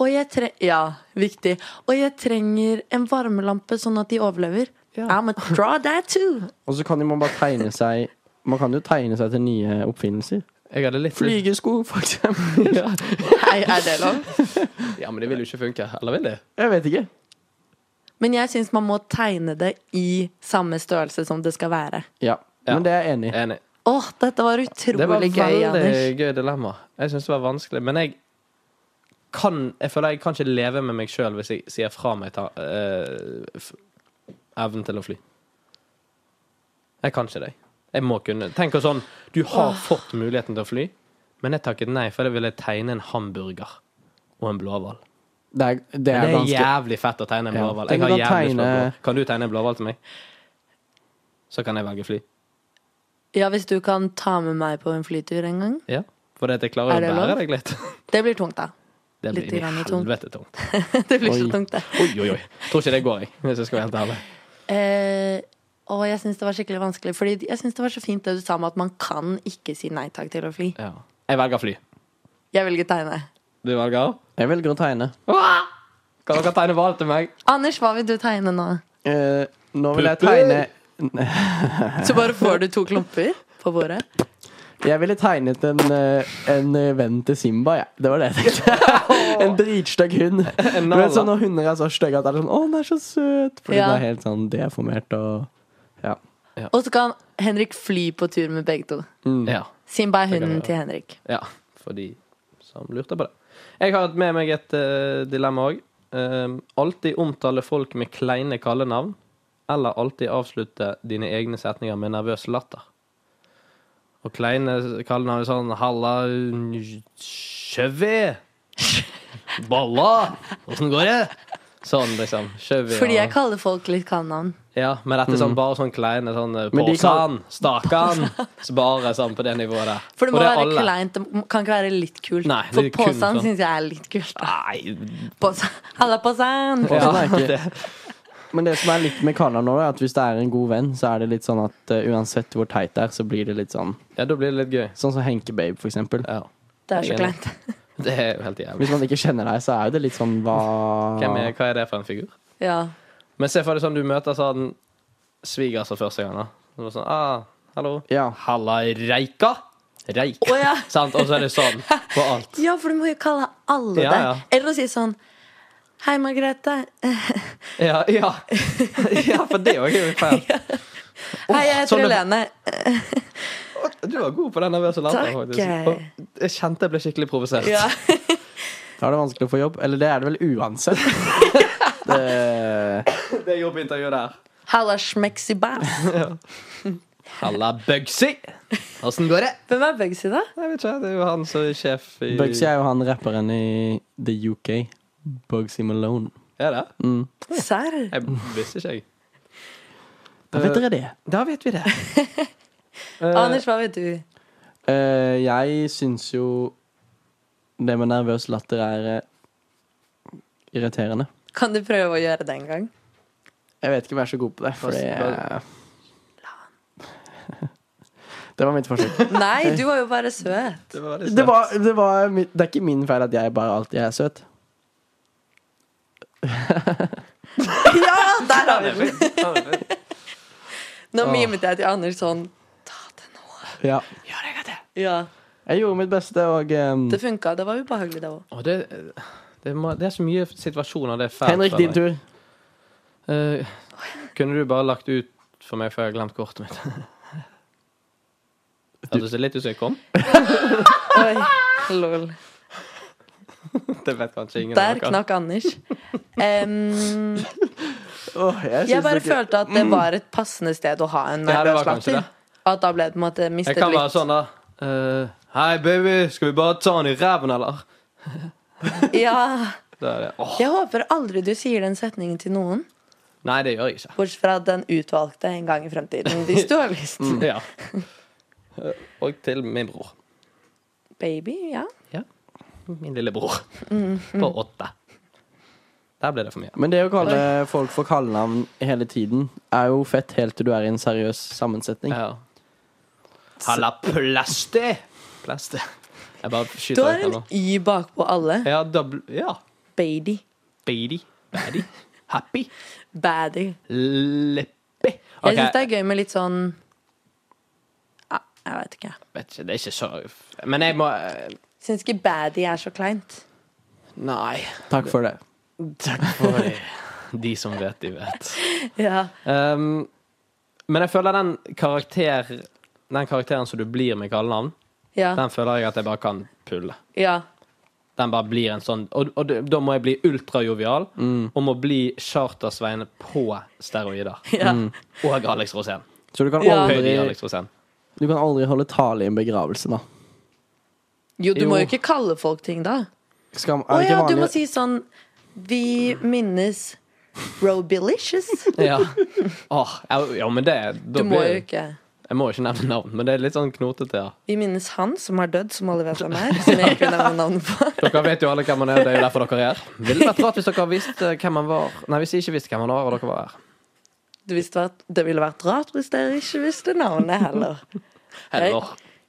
Speaker 4: Og jeg tre ja, viktig. Og jeg trenger en varmelampe, sånn at de overlever.
Speaker 1: Ja.
Speaker 4: I'm a draw that too.
Speaker 3: Og så kan jo man bare tegne seg Man kan jo tegne seg til nye oppfinnelser.
Speaker 1: Jeg hadde litt lyst
Speaker 3: Flygesko, for eksempel.
Speaker 1: ja.
Speaker 4: Hei, er det lov?
Speaker 1: <laughs> ja, men det vil jo ikke funke. Eller vil det?
Speaker 3: Jeg vet ikke.
Speaker 4: Men jeg syns man må tegne det i samme størrelse som det skal være.
Speaker 3: Ja.
Speaker 1: Ja.
Speaker 3: Men det er jeg enig i.
Speaker 1: Enig.
Speaker 4: Åh, dette var utrolig
Speaker 1: Det var et
Speaker 4: gøy, Anders.
Speaker 1: veldig gøy dilemma. Jeg syns det var vanskelig. Men jeg kan Jeg føler jeg kan ikke leve med meg sjøl hvis jeg sier fra meg ta, eh, f- evnen til å fly. Jeg kan ikke det. Jeg må kunne. Tenk å sånn Du har fått muligheten til å fly, men jeg takket nei, for jeg ville tegne en hamburger og en blåhval.
Speaker 3: Det er, det
Speaker 1: Men
Speaker 3: er
Speaker 1: det er
Speaker 3: ganske
Speaker 1: jævlig fett å tegne en
Speaker 3: Ja.
Speaker 1: blåhval. Jeg
Speaker 3: Tenk
Speaker 1: har
Speaker 3: å
Speaker 1: jævlig
Speaker 3: tegne-
Speaker 1: tegne... Kan du tegne en blåhval til meg? Så kan jeg velge fly.
Speaker 4: Ja, hvis du kan ta med meg på en flytur en gang.
Speaker 1: Ja. For jeg klarer
Speaker 4: Er
Speaker 1: å
Speaker 4: det lov?
Speaker 1: bære deg litt.
Speaker 4: Det blir tungt, da. <laughs>
Speaker 1: Det
Speaker 4: Litt
Speaker 1: blir i
Speaker 4: grann tungt.
Speaker 1: helvete tungt.
Speaker 4: Det blir
Speaker 3: Oi.
Speaker 4: så tungt, det.
Speaker 1: Oi, oi, oi. Tror ikke det går, jeg. Hvis jeg skal være helt ærlig.
Speaker 4: Eh, og jeg syns det var skikkelig vanskelig, Fordi jeg syns det var så fint det du sa med at man kan ikke si nei takk til å fly.
Speaker 1: Ja. Jeg velger fly.
Speaker 4: Jeg velger tegne.
Speaker 1: Du velger?
Speaker 3: Jeg velger å tegne.
Speaker 1: Kan dere tegne hval til meg? <laughs>
Speaker 4: Anders, hva vil du tegne nå?
Speaker 3: Eh, nå vil jeg
Speaker 1: Pupper.
Speaker 3: tegne
Speaker 4: Så bare får du to klumper på bordet?
Speaker 3: Jeg ville tegnet en, eh, en eh, venn til Simba, jeg. Det var det jeg tenkte. <laughs> en dritstygg hund. Du
Speaker 1: nalla.
Speaker 3: vet sånn Når hunder er så stygge at det er sånn 'Å, den er så søt'. Fordi
Speaker 4: Ja.
Speaker 3: den er helt sånn deformert og Ja.
Speaker 4: Og så kan Henrik fly på tur med begge to.
Speaker 1: Ja.
Speaker 4: Simba er
Speaker 1: Det kan
Speaker 4: hunden
Speaker 1: jeg
Speaker 4: til Henrik.
Speaker 1: ja. For de som lurte på det. Jeg har hatt med meg et eh, dilemma òg. Um, alltid omtale folk med kleine kallenavn. Eller alltid avslutte dine egne setninger med nervøs latter. Og kleine kallenavn er sånn Halla, Chevy!
Speaker 4: <laughs>
Speaker 1: Balla! Åssen går det? Sånn, liksom. Chevy.
Speaker 4: Fordi
Speaker 1: og-
Speaker 4: jeg Mm. kaller folk litt kallenavn.
Speaker 1: Ja, men dette er sånn bare sånn kleine sånn
Speaker 3: Men de
Speaker 1: Påsan, stakan Så bare sånn på det nivået der.
Speaker 4: For det må
Speaker 1: Og
Speaker 4: være
Speaker 1: er alle.
Speaker 4: kleint. Det m- kan ikke være litt kult.
Speaker 1: Nei, det
Speaker 4: For
Speaker 1: er kun
Speaker 4: Påsan
Speaker 1: sånn.
Speaker 4: syns jeg er litt kult. da.
Speaker 1: Nei
Speaker 4: Påsan. Halla, Påsan!
Speaker 3: Og sånn
Speaker 1: ja,
Speaker 3: er
Speaker 1: <laughs>
Speaker 3: ikke-
Speaker 1: det,
Speaker 3: Men det som er litt med Karla nå, er at hvis det er en god venn, så er det litt sånn at eh, uansett hvor teit det er, så blir det litt sånn
Speaker 1: ja, da blir det litt gøy.
Speaker 3: Sånn som Henke Babe, for eksempel.
Speaker 1: Ja.
Speaker 4: Det er så kleint.
Speaker 1: Det er jo helt jævlig.
Speaker 3: Hvis man ikke kjenner deg, så er jo det litt sånn hva
Speaker 1: Hvem er, hva er det for en figur?
Speaker 4: Ja.
Speaker 1: Men se for deg sånn du møter sånn sviger for første gang. da Så bare sånn, ah, Hallo.
Speaker 3: Ja.
Speaker 1: Halla, Reika. Reik.
Speaker 4: Å, ja.
Speaker 1: Sant? Og så er det
Speaker 4: <laughs>
Speaker 1: sånn på alt.
Speaker 4: ja, for du må jo kalle alle
Speaker 1: Ja,
Speaker 4: det.
Speaker 1: ja.
Speaker 4: Eller å si sånn Hei, Margrethe.
Speaker 1: Ja,
Speaker 4: <laughs>
Speaker 1: ja. ja for det òg er jo feil.
Speaker 4: Hei, jeg
Speaker 1: sånn
Speaker 4: heter
Speaker 1: det-
Speaker 4: Helene.
Speaker 1: Du var god på den nervøse latteren,
Speaker 4: Takk.
Speaker 1: faktisk. Og jeg kjente jeg ble skikkelig provosert.
Speaker 4: Ja.
Speaker 3: Da er det vanskelig å få jobb. Eller det er det vel uansett. det,
Speaker 1: Det er jobbintervju der.
Speaker 4: Halla, Schmexibass.
Speaker 1: Halla, Bugsy! Åssen går det?
Speaker 4: Hvem er Bugsy, da?
Speaker 1: Jeg vet ikke, Det er jo han som er sjef i
Speaker 3: Bugsy er jo han rapperen i The UK. Bugsy Malone. Mm.
Speaker 1: Er det?
Speaker 4: Serr?
Speaker 1: Jeg visste ikke, jeg.
Speaker 3: Da vet dere det.
Speaker 1: Da vet
Speaker 4: <laughs>
Speaker 1: vi det.
Speaker 4: Anders, hva vet du?
Speaker 3: Eh, jeg syns jo det med nervøs latter er eh, irriterende.
Speaker 4: Kan du prøve å gjøre det en gang?
Speaker 3: Jeg vet ikke om jeg er så god på det, for det
Speaker 1: Hva-
Speaker 3: er <laughs> Det var mitt forsøk.
Speaker 4: Nei, du var jo bare søt.
Speaker 1: Det var veldig
Speaker 3: <laughs> Det, var, det, var, mitt- det er ikke min feil at jeg bare alltid er søt.
Speaker 4: <laughs> Ja, der har vi den!
Speaker 1: søtt.
Speaker 4: Nå mimet jeg til Anders sånn Ta det nå.
Speaker 3: Ja.
Speaker 4: Ja,
Speaker 3: Jeg gjorde mitt beste, og eh,
Speaker 4: det funka. Det var ubehagelig, det òg.
Speaker 1: Og det, det, må, det er så mye situasjoner det er fælt.
Speaker 3: Henrik, din tur.
Speaker 1: Eh, kunne du bare lagt ut for meg før jeg har glemt kortet mitt? <laughs> Hørtes det litt ut som jeg kom?
Speaker 4: Oi, lol.
Speaker 1: Det vet kanskje ingen. av
Speaker 4: Der
Speaker 1: dere.
Speaker 4: knakk Anders. <laughs> Em,
Speaker 3: Åh, jeg
Speaker 4: jeg
Speaker 3: syns
Speaker 4: bare
Speaker 3: ikke
Speaker 4: følte at det var et passende sted å ha en
Speaker 1: Ja, det var
Speaker 4: nervøs
Speaker 1: kanskje
Speaker 4: latter.
Speaker 1: det.
Speaker 4: At da ble det på en måte
Speaker 1: Jeg
Speaker 4: mistet
Speaker 1: kan være
Speaker 4: litt.
Speaker 1: sånn, da. eh, Hei, baby, skal vi bare ta han i ræven, eller? sånn.
Speaker 4: Ja,
Speaker 1: Da er det Åh,
Speaker 4: jeg håper aldri du sier den setningen til noen,
Speaker 1: Nei, det gjør jeg ikke.
Speaker 4: bortsett fra den utvalgte en gang i fremtiden. Hvis du har lyst.
Speaker 1: Ja. Mm. <laughs> Eh, Og til min bror.
Speaker 4: Baby, ja.
Speaker 1: Min lille bror.
Speaker 3: Mm.
Speaker 1: På åtte. Der ble det for mye.
Speaker 3: Men det å kalle folk for kallenavn hele tiden er jo fett helt til du er i en seriøs sammensetning.
Speaker 1: Ja. Halla, plasti! Plasti. Jeg bare
Speaker 4: Du
Speaker 1: skyter ut
Speaker 4: har
Speaker 1: her
Speaker 4: en
Speaker 1: nå.
Speaker 4: Y bakpå alle.
Speaker 1: Ja, dobbel... Ja.
Speaker 4: Baby.
Speaker 1: Baby. Baddy. Happy.
Speaker 4: Baddy.
Speaker 1: Leppy.
Speaker 4: Jeg
Speaker 1: Ok.
Speaker 4: syns det er gøy med litt sånn ja, Jeg veit ikke.
Speaker 1: Vet ikke, det er ikke så Men jeg må
Speaker 4: Syns ikke baddie er så kleint.
Speaker 1: Nei.
Speaker 3: Takk for det.
Speaker 1: Takk for det. De som vet, de vet.
Speaker 4: Ja.
Speaker 1: Um, men jeg føler den karakter Den karakteren som du blir med kallenavn,
Speaker 4: Ja.
Speaker 1: den føler jeg at jeg bare kan pulle.
Speaker 4: ja.
Speaker 1: Den bare blir en sånn Og, og det- da må jeg bli ultrajovial,
Speaker 4: Mm.
Speaker 1: og må bli Charter-Svein på steroider.
Speaker 4: ja.
Speaker 1: Og Alex Rosén.
Speaker 3: Så du kan
Speaker 4: Ja.
Speaker 1: Høyde
Speaker 3: aldri,
Speaker 1: i Alex Rosén.
Speaker 3: du kan aldri holde tale i en begravelse, da.
Speaker 4: Jo, du må
Speaker 1: Jo.
Speaker 4: jo ikke kalle folk ting, da.
Speaker 3: Skal,
Speaker 4: Å
Speaker 3: er det
Speaker 4: ja,
Speaker 3: ikke
Speaker 4: du må
Speaker 3: vanlig
Speaker 4: si sånn Vi minnes Robilicious.
Speaker 1: Ja. <laughs> Åh, ja, ja, men det da
Speaker 4: Du må
Speaker 1: blir-
Speaker 4: jo ikke
Speaker 1: Jeg må ikke nevne navn, men det er litt sånn knotete. Ja.
Speaker 4: Vi minnes han som har dødd, som alle vet hvem er. Som jeg ikke vil nevne navnet på.
Speaker 1: Dere vet jo alle hvem han er, det er jo derfor dere er her. Ville vært rart hvis dere visste hvem han var. Nei, hvis jeg ikke visste hvem han var, og dere var her.
Speaker 4: Du visste at det ville vært rart hvis dere ikke visste navnet heller.
Speaker 1: Eller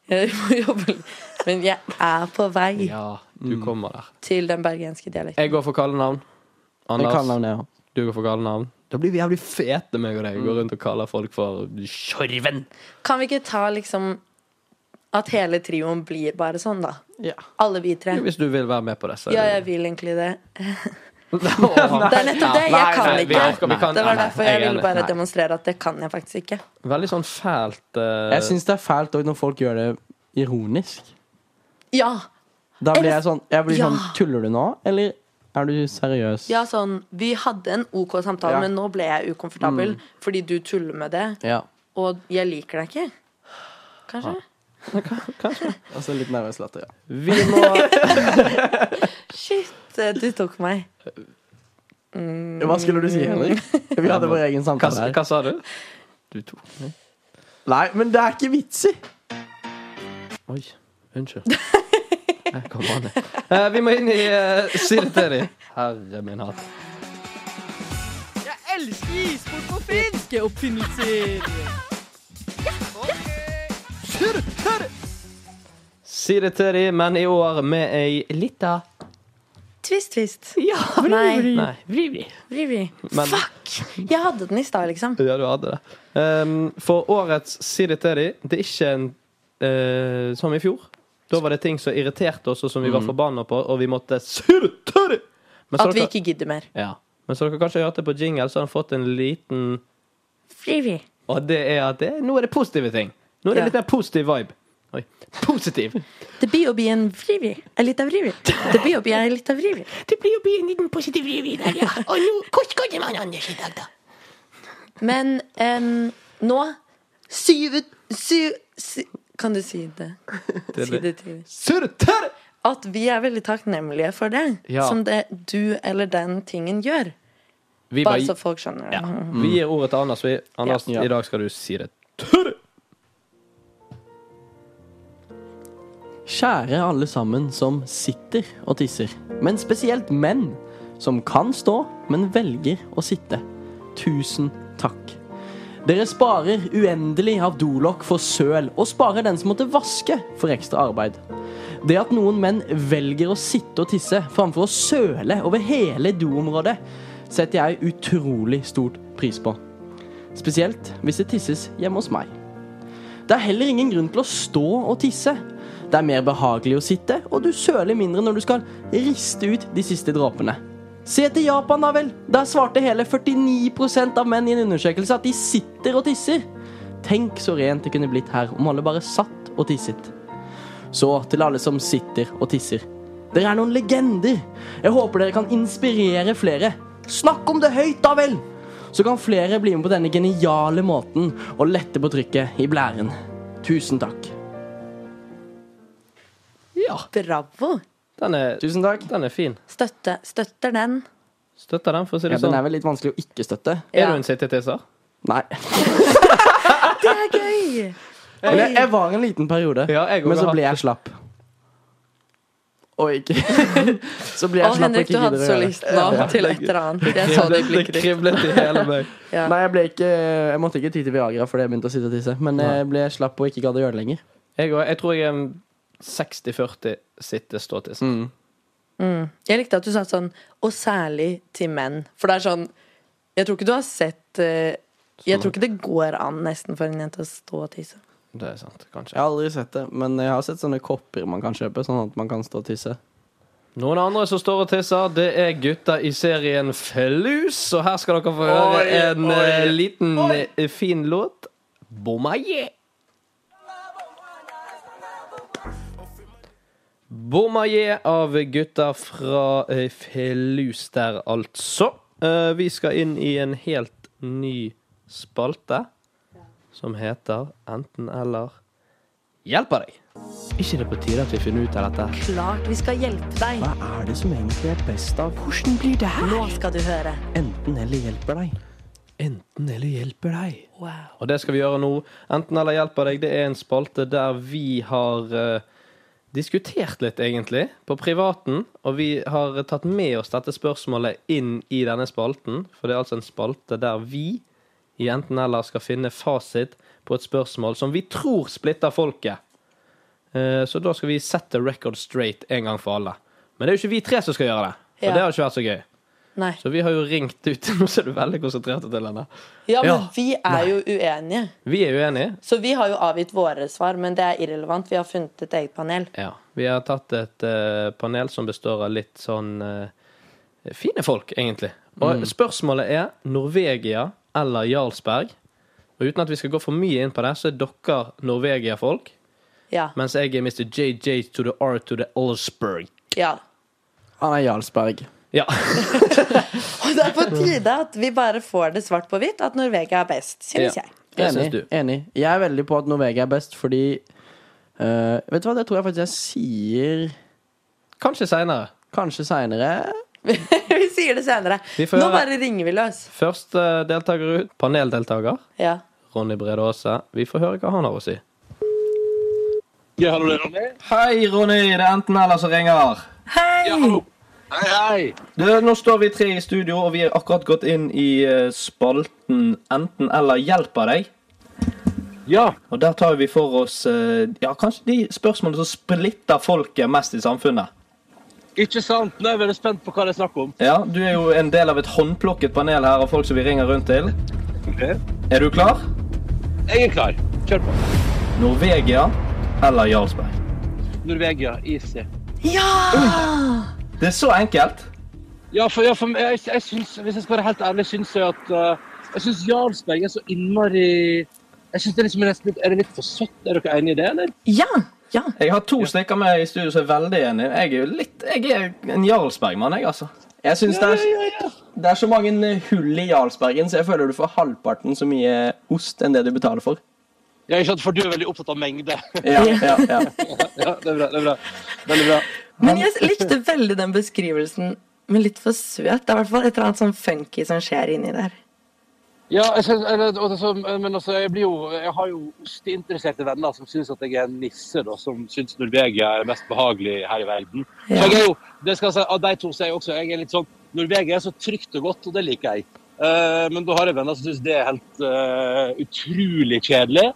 Speaker 4: Jeg må jobbe litt. Men jeg er på vei
Speaker 1: Ja, du
Speaker 3: Mm.
Speaker 1: kommer der.
Speaker 4: til den bergenske dialekten.
Speaker 1: Jeg går for kallenavn.
Speaker 3: Jeg kan
Speaker 1: Anders,
Speaker 3: navnet, ja.
Speaker 1: du går for kallenavn. Da blir vi jævlig fete, meg og deg. Går rundt og kaller folk for Sjorven.
Speaker 4: Kan vi ikke ta liksom at hele trioen blir bare sånn, da?
Speaker 3: Ja.
Speaker 4: Alle vi tre.
Speaker 1: Hvis du vil være med på det, så
Speaker 4: Ja, jeg vil egentlig det.
Speaker 1: Åh.
Speaker 4: Det er nettopp det.
Speaker 1: Nei,
Speaker 4: Jeg kan
Speaker 1: nei, vi orker- vi
Speaker 4: ikke.
Speaker 1: kan-
Speaker 4: Det var
Speaker 1: nei,
Speaker 4: derfor
Speaker 1: jeg
Speaker 4: jeg
Speaker 1: er enig.
Speaker 4: ville bare
Speaker 1: Nei.
Speaker 4: demonstrere at det kan jeg faktisk ikke.
Speaker 1: Veldig sånn fælt eh,
Speaker 3: Jeg syns det er fælt også når folk gjør det ironisk.
Speaker 4: Ja.
Speaker 3: Da blir jeg sånn, jeg blir
Speaker 4: Ja.
Speaker 3: sånn Tuller du nå, eller er du seriøs?
Speaker 4: Ja, sånn Vi hadde en OK samtale,
Speaker 3: Ja.
Speaker 4: men nå ble jeg ukomfortabel fordi du tuller med det,
Speaker 3: Ja.
Speaker 4: og jeg liker deg ikke. Kanskje?
Speaker 3: Og så litt nervøs latter, ja.
Speaker 1: Vi må
Speaker 4: Shit, eh, du tok meg.
Speaker 3: Hva skulle du si, Henrik?
Speaker 4: Mm.
Speaker 3: Vi hadde vår egen
Speaker 1: hva,
Speaker 3: samtale her.
Speaker 1: hva sa du? Du tok
Speaker 3: Nei, men det er ikke vits i!
Speaker 1: Oi. Unnskyld. Jeg kom an, jeg. Eh, vi må inn i uh, Si det til dem. Herre min hatt. Si det til dem, men i år med ei lita
Speaker 4: Twist, twist.
Speaker 1: Ja,
Speaker 4: Nei.
Speaker 1: Nei, vri, vri.
Speaker 4: Vri, vri.
Speaker 1: Men-
Speaker 4: Fuck! Jeg hadde den i stad, liksom.
Speaker 1: Ja, du hadde det. Ehm, for årets Si det til de, det er ikke en eh, som i fjor. Da var det ting som irriterte oss, og som vi var forbanna på, og vi måtte Si det til de! Men så
Speaker 4: At vi
Speaker 1: dere-
Speaker 4: ikke gidder mer.
Speaker 1: Ja. Men så dere kanskje hørte på jingle, så har den fått en liten
Speaker 4: Vri, vri.
Speaker 1: Og det er at det, nå er det positive ting. Nå er det
Speaker 4: Ja.
Speaker 1: litt mer positiv vibe. Oi. Positiv.
Speaker 4: Det blir å bli en vrivri. En liten vrivri. Det blir å bli en liten vrivri.
Speaker 1: Det blir å bli en liten positiv revy der, ja. Og nå Hvordan går det med Anders i dag, da?
Speaker 4: Men em, nå Syv... Syv... sy- Kan du si det? Si det til
Speaker 1: Surter!
Speaker 4: At vi er veldig takknemlige for det.
Speaker 1: Ja.
Speaker 4: Som det du eller den tingen gjør.
Speaker 1: Vi,
Speaker 4: Bare
Speaker 1: bare,
Speaker 4: så folk skjønner det.
Speaker 1: ja. vi gir ordet til Anders. Vi, Anders,
Speaker 3: Ja.
Speaker 1: i dag skal du si det.
Speaker 3: Kjære alle sammen som sitter og tisser, men spesielt menn som kan stå, men velger å sitte. Tusen takk. Dere sparer uendelig av dolokk for søl, og sparer den som måtte vaske, for ekstra arbeid. Det at noen menn velger å sitte og tisse framfor å søle over hele doområdet, setter jeg utrolig stort pris på. Spesielt hvis det tisses hjemme hos meg. Det er heller ingen grunn til å stå og tisse. Det er mer behagelig å sitte, og du søler mindre når du skal riste ut de siste dråpene. Se til Japan, da vel. Der svarte hele 49 av menn i en undersøkelse at de sitter og tisser. Tenk så rent det kunne blitt her om alle bare satt og tisset. Så til alle som sitter og tisser. Dere er noen legender. Jeg håper dere kan inspirere flere. Snakk om det høyt, da vel! Så kan flere bli med på denne geniale måten og lette på trykket i blæren. Tusen takk.
Speaker 1: Ja.
Speaker 4: Bravo.
Speaker 1: Den er,
Speaker 3: Tusen takk.
Speaker 1: den er fin.
Speaker 4: Støtte, støtter den.
Speaker 1: Støtter den, for å si
Speaker 3: Ja,
Speaker 1: det
Speaker 3: den er
Speaker 1: sånn.
Speaker 3: vel litt vanskelig å ikke støtte.
Speaker 1: Er
Speaker 4: Ja.
Speaker 1: du en sittetisser?
Speaker 3: Nei.
Speaker 4: Det er gøy!
Speaker 3: Men jeg, jeg var en liten periode,
Speaker 1: Ja, jeg
Speaker 3: men
Speaker 1: også
Speaker 3: så
Speaker 1: har
Speaker 3: ble jeg slapp. Og ikke <laughs> Så ble jeg slapp
Speaker 4: Å,
Speaker 3: og
Speaker 4: Henrik,
Speaker 3: ikke
Speaker 4: du hadde
Speaker 3: gidder å
Speaker 4: så
Speaker 3: gjøre det.
Speaker 4: lyst nå til et eller annet. Jeg så det i
Speaker 1: Det
Speaker 4: blikket ditt.
Speaker 1: kriblet i hele meg.
Speaker 4: Ja.
Speaker 3: Nei, jeg ble ikke Jeg måtte ikke ty til Viagra fordi jeg begynte å sitte og tisse, men jeg ble slapp og ikke gadd å gjøre det lenger.
Speaker 1: Jeg, og- jeg tror jeg er en 60-40 sitte-stå-tiss.
Speaker 4: Jeg likte at du sa sånn Og særlig til menn For det er sånn Jeg tror ikke du har sett eh, Jeg tror ikke det går an nesten for en jente å stå og tisse.
Speaker 1: Det er sant, kanskje.
Speaker 3: Jeg har aldri sett det, men jeg har sett sånne kopper man kan kjøpe, sånn at man kan stå og tisse.
Speaker 1: Noen andre som står og tisser, det er gutta i serien Fellus. Og her skal dere få høre en eh, liten eh, fin låt. Bomaye. Bomaye av gutta fra eh, Fellus der, altså. Eh, Vi skal inn i en helt ny spalte som heter Enten-eller hjelper deg. Ikke det på tide at vi finner ut av dette? her?
Speaker 4: Klart vi skal hjelpe deg.
Speaker 3: Hva er det som egentlig er best av
Speaker 4: Nå skal du høre.
Speaker 3: enten eller hjelper deg?
Speaker 1: Enten eller hjelper deg.
Speaker 4: Wow.
Speaker 1: Og det skal vi gjøre nå. Enten eller hjelper deg, det er en spalte der vi har eh, diskutert litt, egentlig, på privaten. Og vi har tatt med oss dette spørsmålet inn i denne spalten. For det er altså en spalte der vi i Enten eller skal finne fasit på et spørsmål som vi tror splitter folket. Eh, Så da skal vi set the record straight en gang for alle. Men det er jo ikke vi tre som skal gjøre det. Og
Speaker 4: Ja.
Speaker 1: det har ikke vært så gøy.
Speaker 4: Nei.
Speaker 1: Så vi har jo ringt ut. <laughs> Nå ser du veldig konsentrert ut, Helene.
Speaker 4: Ja, men
Speaker 1: Ja.
Speaker 4: vi er jo uenige.
Speaker 1: Vi er uenige.
Speaker 4: Så vi har jo avgitt våre svar, men det er irrelevant. Vi har funnet et eget panel.
Speaker 1: Ja. Vi har tatt et eh, panel som består av litt sånn eh, fine folk, egentlig. Og spørsmålet er Norvegia eller Jarlsberg. Og uten at vi skal gå for mye inn på det, så er dere Norvegia-folk.
Speaker 4: Ja.
Speaker 1: Mens jeg er Mr. JJ to the R to the Olsberg.
Speaker 4: ja.
Speaker 3: Han er Jarlsberg.
Speaker 1: Ja. <laughs>
Speaker 4: Og det er på tide at vi bare får det svart på hvitt at Norvegia er best, synes
Speaker 1: Ja.
Speaker 4: jeg. <laughs>
Speaker 1: Det
Speaker 3: Enig,
Speaker 1: syns du.
Speaker 3: enig. Jeg er veldig på at Norvegia er best, fordi eh, Vet du hva, det tror jeg faktisk jeg sier
Speaker 1: Kanskje seinere.
Speaker 3: kanskje seinere.
Speaker 4: vi sier det senere.
Speaker 1: Vi får
Speaker 4: Nå
Speaker 1: gjøre-
Speaker 4: bare ringer vi løs.
Speaker 1: Første deltaker ut, paneldeltaker,
Speaker 4: Ja.
Speaker 1: Ronny Brede Aase. Vi får høre hva han har å si.
Speaker 6: Ja, hallo, det er Ronny.
Speaker 1: Hei, Ronny! Det er enten eller som ringer.
Speaker 6: Ja, hallo. Hei, hei.
Speaker 1: Du, nå står vi tre i studio, og vi er akkurat gått inn i eh, spalten Enten eller hjelper deg.
Speaker 6: Ja,
Speaker 1: Og der tar vi for oss eh, ja, kanskje de spørsmålene som splitter folket mest i samfunnet.
Speaker 6: ikke sant? Nå er jeg veldig spent på hva det er snakk om.
Speaker 1: Ja, Du er jo en del av et håndplukket panel her av folk som vi ringer rundt til.
Speaker 6: Jeg
Speaker 1: Er du klar?
Speaker 6: er klar. Kjør på.
Speaker 1: Norvegia eller Jarlsberg?
Speaker 6: Norvegia, easy.
Speaker 1: Det er så enkelt.
Speaker 6: Ja, for, ja, for jeg, jeg synes, hvis jeg skal være helt ærlig, syns jeg at eh, Jeg syns Jarlsberg er så innmari Jeg syns det er liksom nesten litt Er det litt for søtt? Er dere enige i det, eller?
Speaker 4: Ja. ja.
Speaker 1: Jeg har to stykker med i studio som er veldig enige. Jeg er jo litt, jeg er en Jarlsberg-mann, jeg, altså.
Speaker 3: Jeg syns det, er-
Speaker 6: ja, ja.
Speaker 3: det er så mange hull i Jarlsbergen, så jeg føler du får halvparten så mye ost enn det du betaler for.
Speaker 6: Ja, ikke sant, for du er veldig opptatt av mengde. <laughs>
Speaker 3: <laughs> Ja, ja, ja.
Speaker 6: ja, det er bra. det er bra. Veldig bra.
Speaker 4: Men jeg likte veldig den beskrivelsen. Men litt for søt. Det er i hvert fall et eller annet sånn funky som skjer inni der.
Speaker 6: Ja, jeg synes, eller, og det som- men altså, jeg, blir jo, jeg har jo osteinteresserte venner som syns at jeg er en nisse, da, som syns Norvegia er mest behagelig her i verden. Så jeg er jo, det skal jeg si, Av de to så er jeg også jeg er litt sånn Norvegia er så trygt og godt, og det liker jeg. Eh, men da har jeg venner som syns det er helt eh, utrolig kjedelig.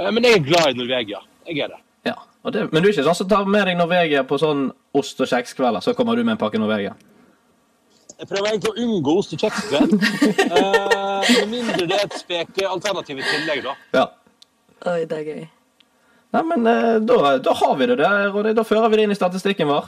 Speaker 6: Eh, men jeg er glad i Norvegia. Jeg er det.
Speaker 1: Ja, og det, Men du er ikke sånn som tar med deg Norvegia på sånn ost- og kjekskvelder, så kommer du med en pakke Norvegia?
Speaker 6: Jeg prøver egentlig å unngå ost og kjeks. vel. Eh, Med mindre det er et spekealternativ i tillegg, da.
Speaker 1: Ja.
Speaker 4: Oi, det er gøy.
Speaker 1: Nei, men eh, da, da har vi det der, og det, da fører vi det inn i statistikken vår.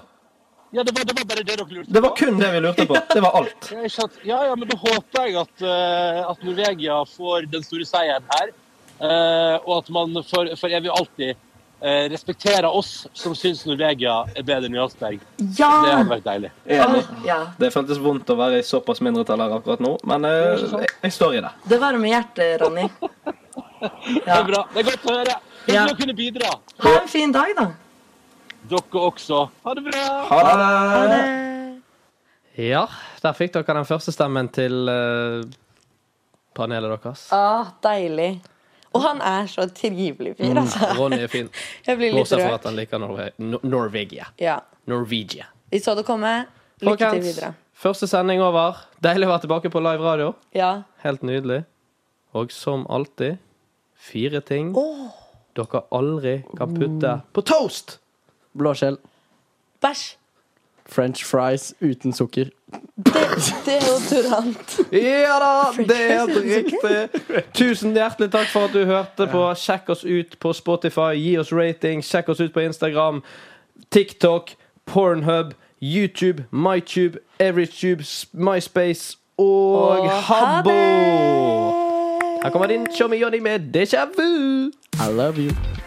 Speaker 6: Ja, det var, det var bare det dere lurte
Speaker 1: Det var kun det vi lurte på. Det var
Speaker 6: <laughs>
Speaker 1: alt.
Speaker 6: Ja, ikke sant? ja, ja, men da håper jeg at, eh, at Norvegia får den store seieren her. eh, og at man for, for evig og alltid eh, respekterer oss som syns Norvegia er bedre enn Jarlsberg. Det
Speaker 4: Ja!
Speaker 6: hadde vært deilig.
Speaker 1: Enig.
Speaker 4: ja.
Speaker 1: Det føltes vondt å være i såpass mindretall her akkurat nå, men eh, jeg, jeg står i det.
Speaker 4: Det varmer hjertet, Ronny.
Speaker 6: Det er bra. Det er godt å høre. Hyggelig
Speaker 4: Ja.
Speaker 6: å kunne bidra.
Speaker 4: Ha en fin dag, da.
Speaker 6: Dere også. Ha det bra.
Speaker 1: Ha det!
Speaker 4: Ha det.
Speaker 1: Ja, der fikk dere den første stemmen til eh, panelet deres.
Speaker 4: <laughs> Ah, deilig. Og han er så trivelig fyr, altså.
Speaker 1: Ronny er fin,
Speaker 4: Jeg blir litt
Speaker 1: bortsett fra
Speaker 4: rørt.
Speaker 1: at han liker Norve Nor- Norvegia.
Speaker 4: Ja.
Speaker 1: Norvegia.
Speaker 4: Vi så det komme. Lykke til
Speaker 1: Folkens,
Speaker 4: videre.
Speaker 1: første sending over. Deilig å være tilbake på live radio.
Speaker 4: Ja.
Speaker 1: Helt nydelig. Og som alltid fire ting
Speaker 4: Åh.
Speaker 1: dere aldri kan putte på toast!
Speaker 3: Blåskjell.
Speaker 4: Bæsj.
Speaker 3: French fries uten sukker.
Speaker 4: Det, det er jo Turant.
Speaker 1: Oh. Ja da, det er helt riktig. Tusen hjertelig takk for at du hørte på. Sjekk oss ut på Spotify, gi oss rating, sjekk oss ut på Instagram, TikTok, Pornhub, YouTube, MyTube, EveryTube, MySpace og Habbo. Her kommer din Tjommi Jonny med déjà vu.
Speaker 3: I love you.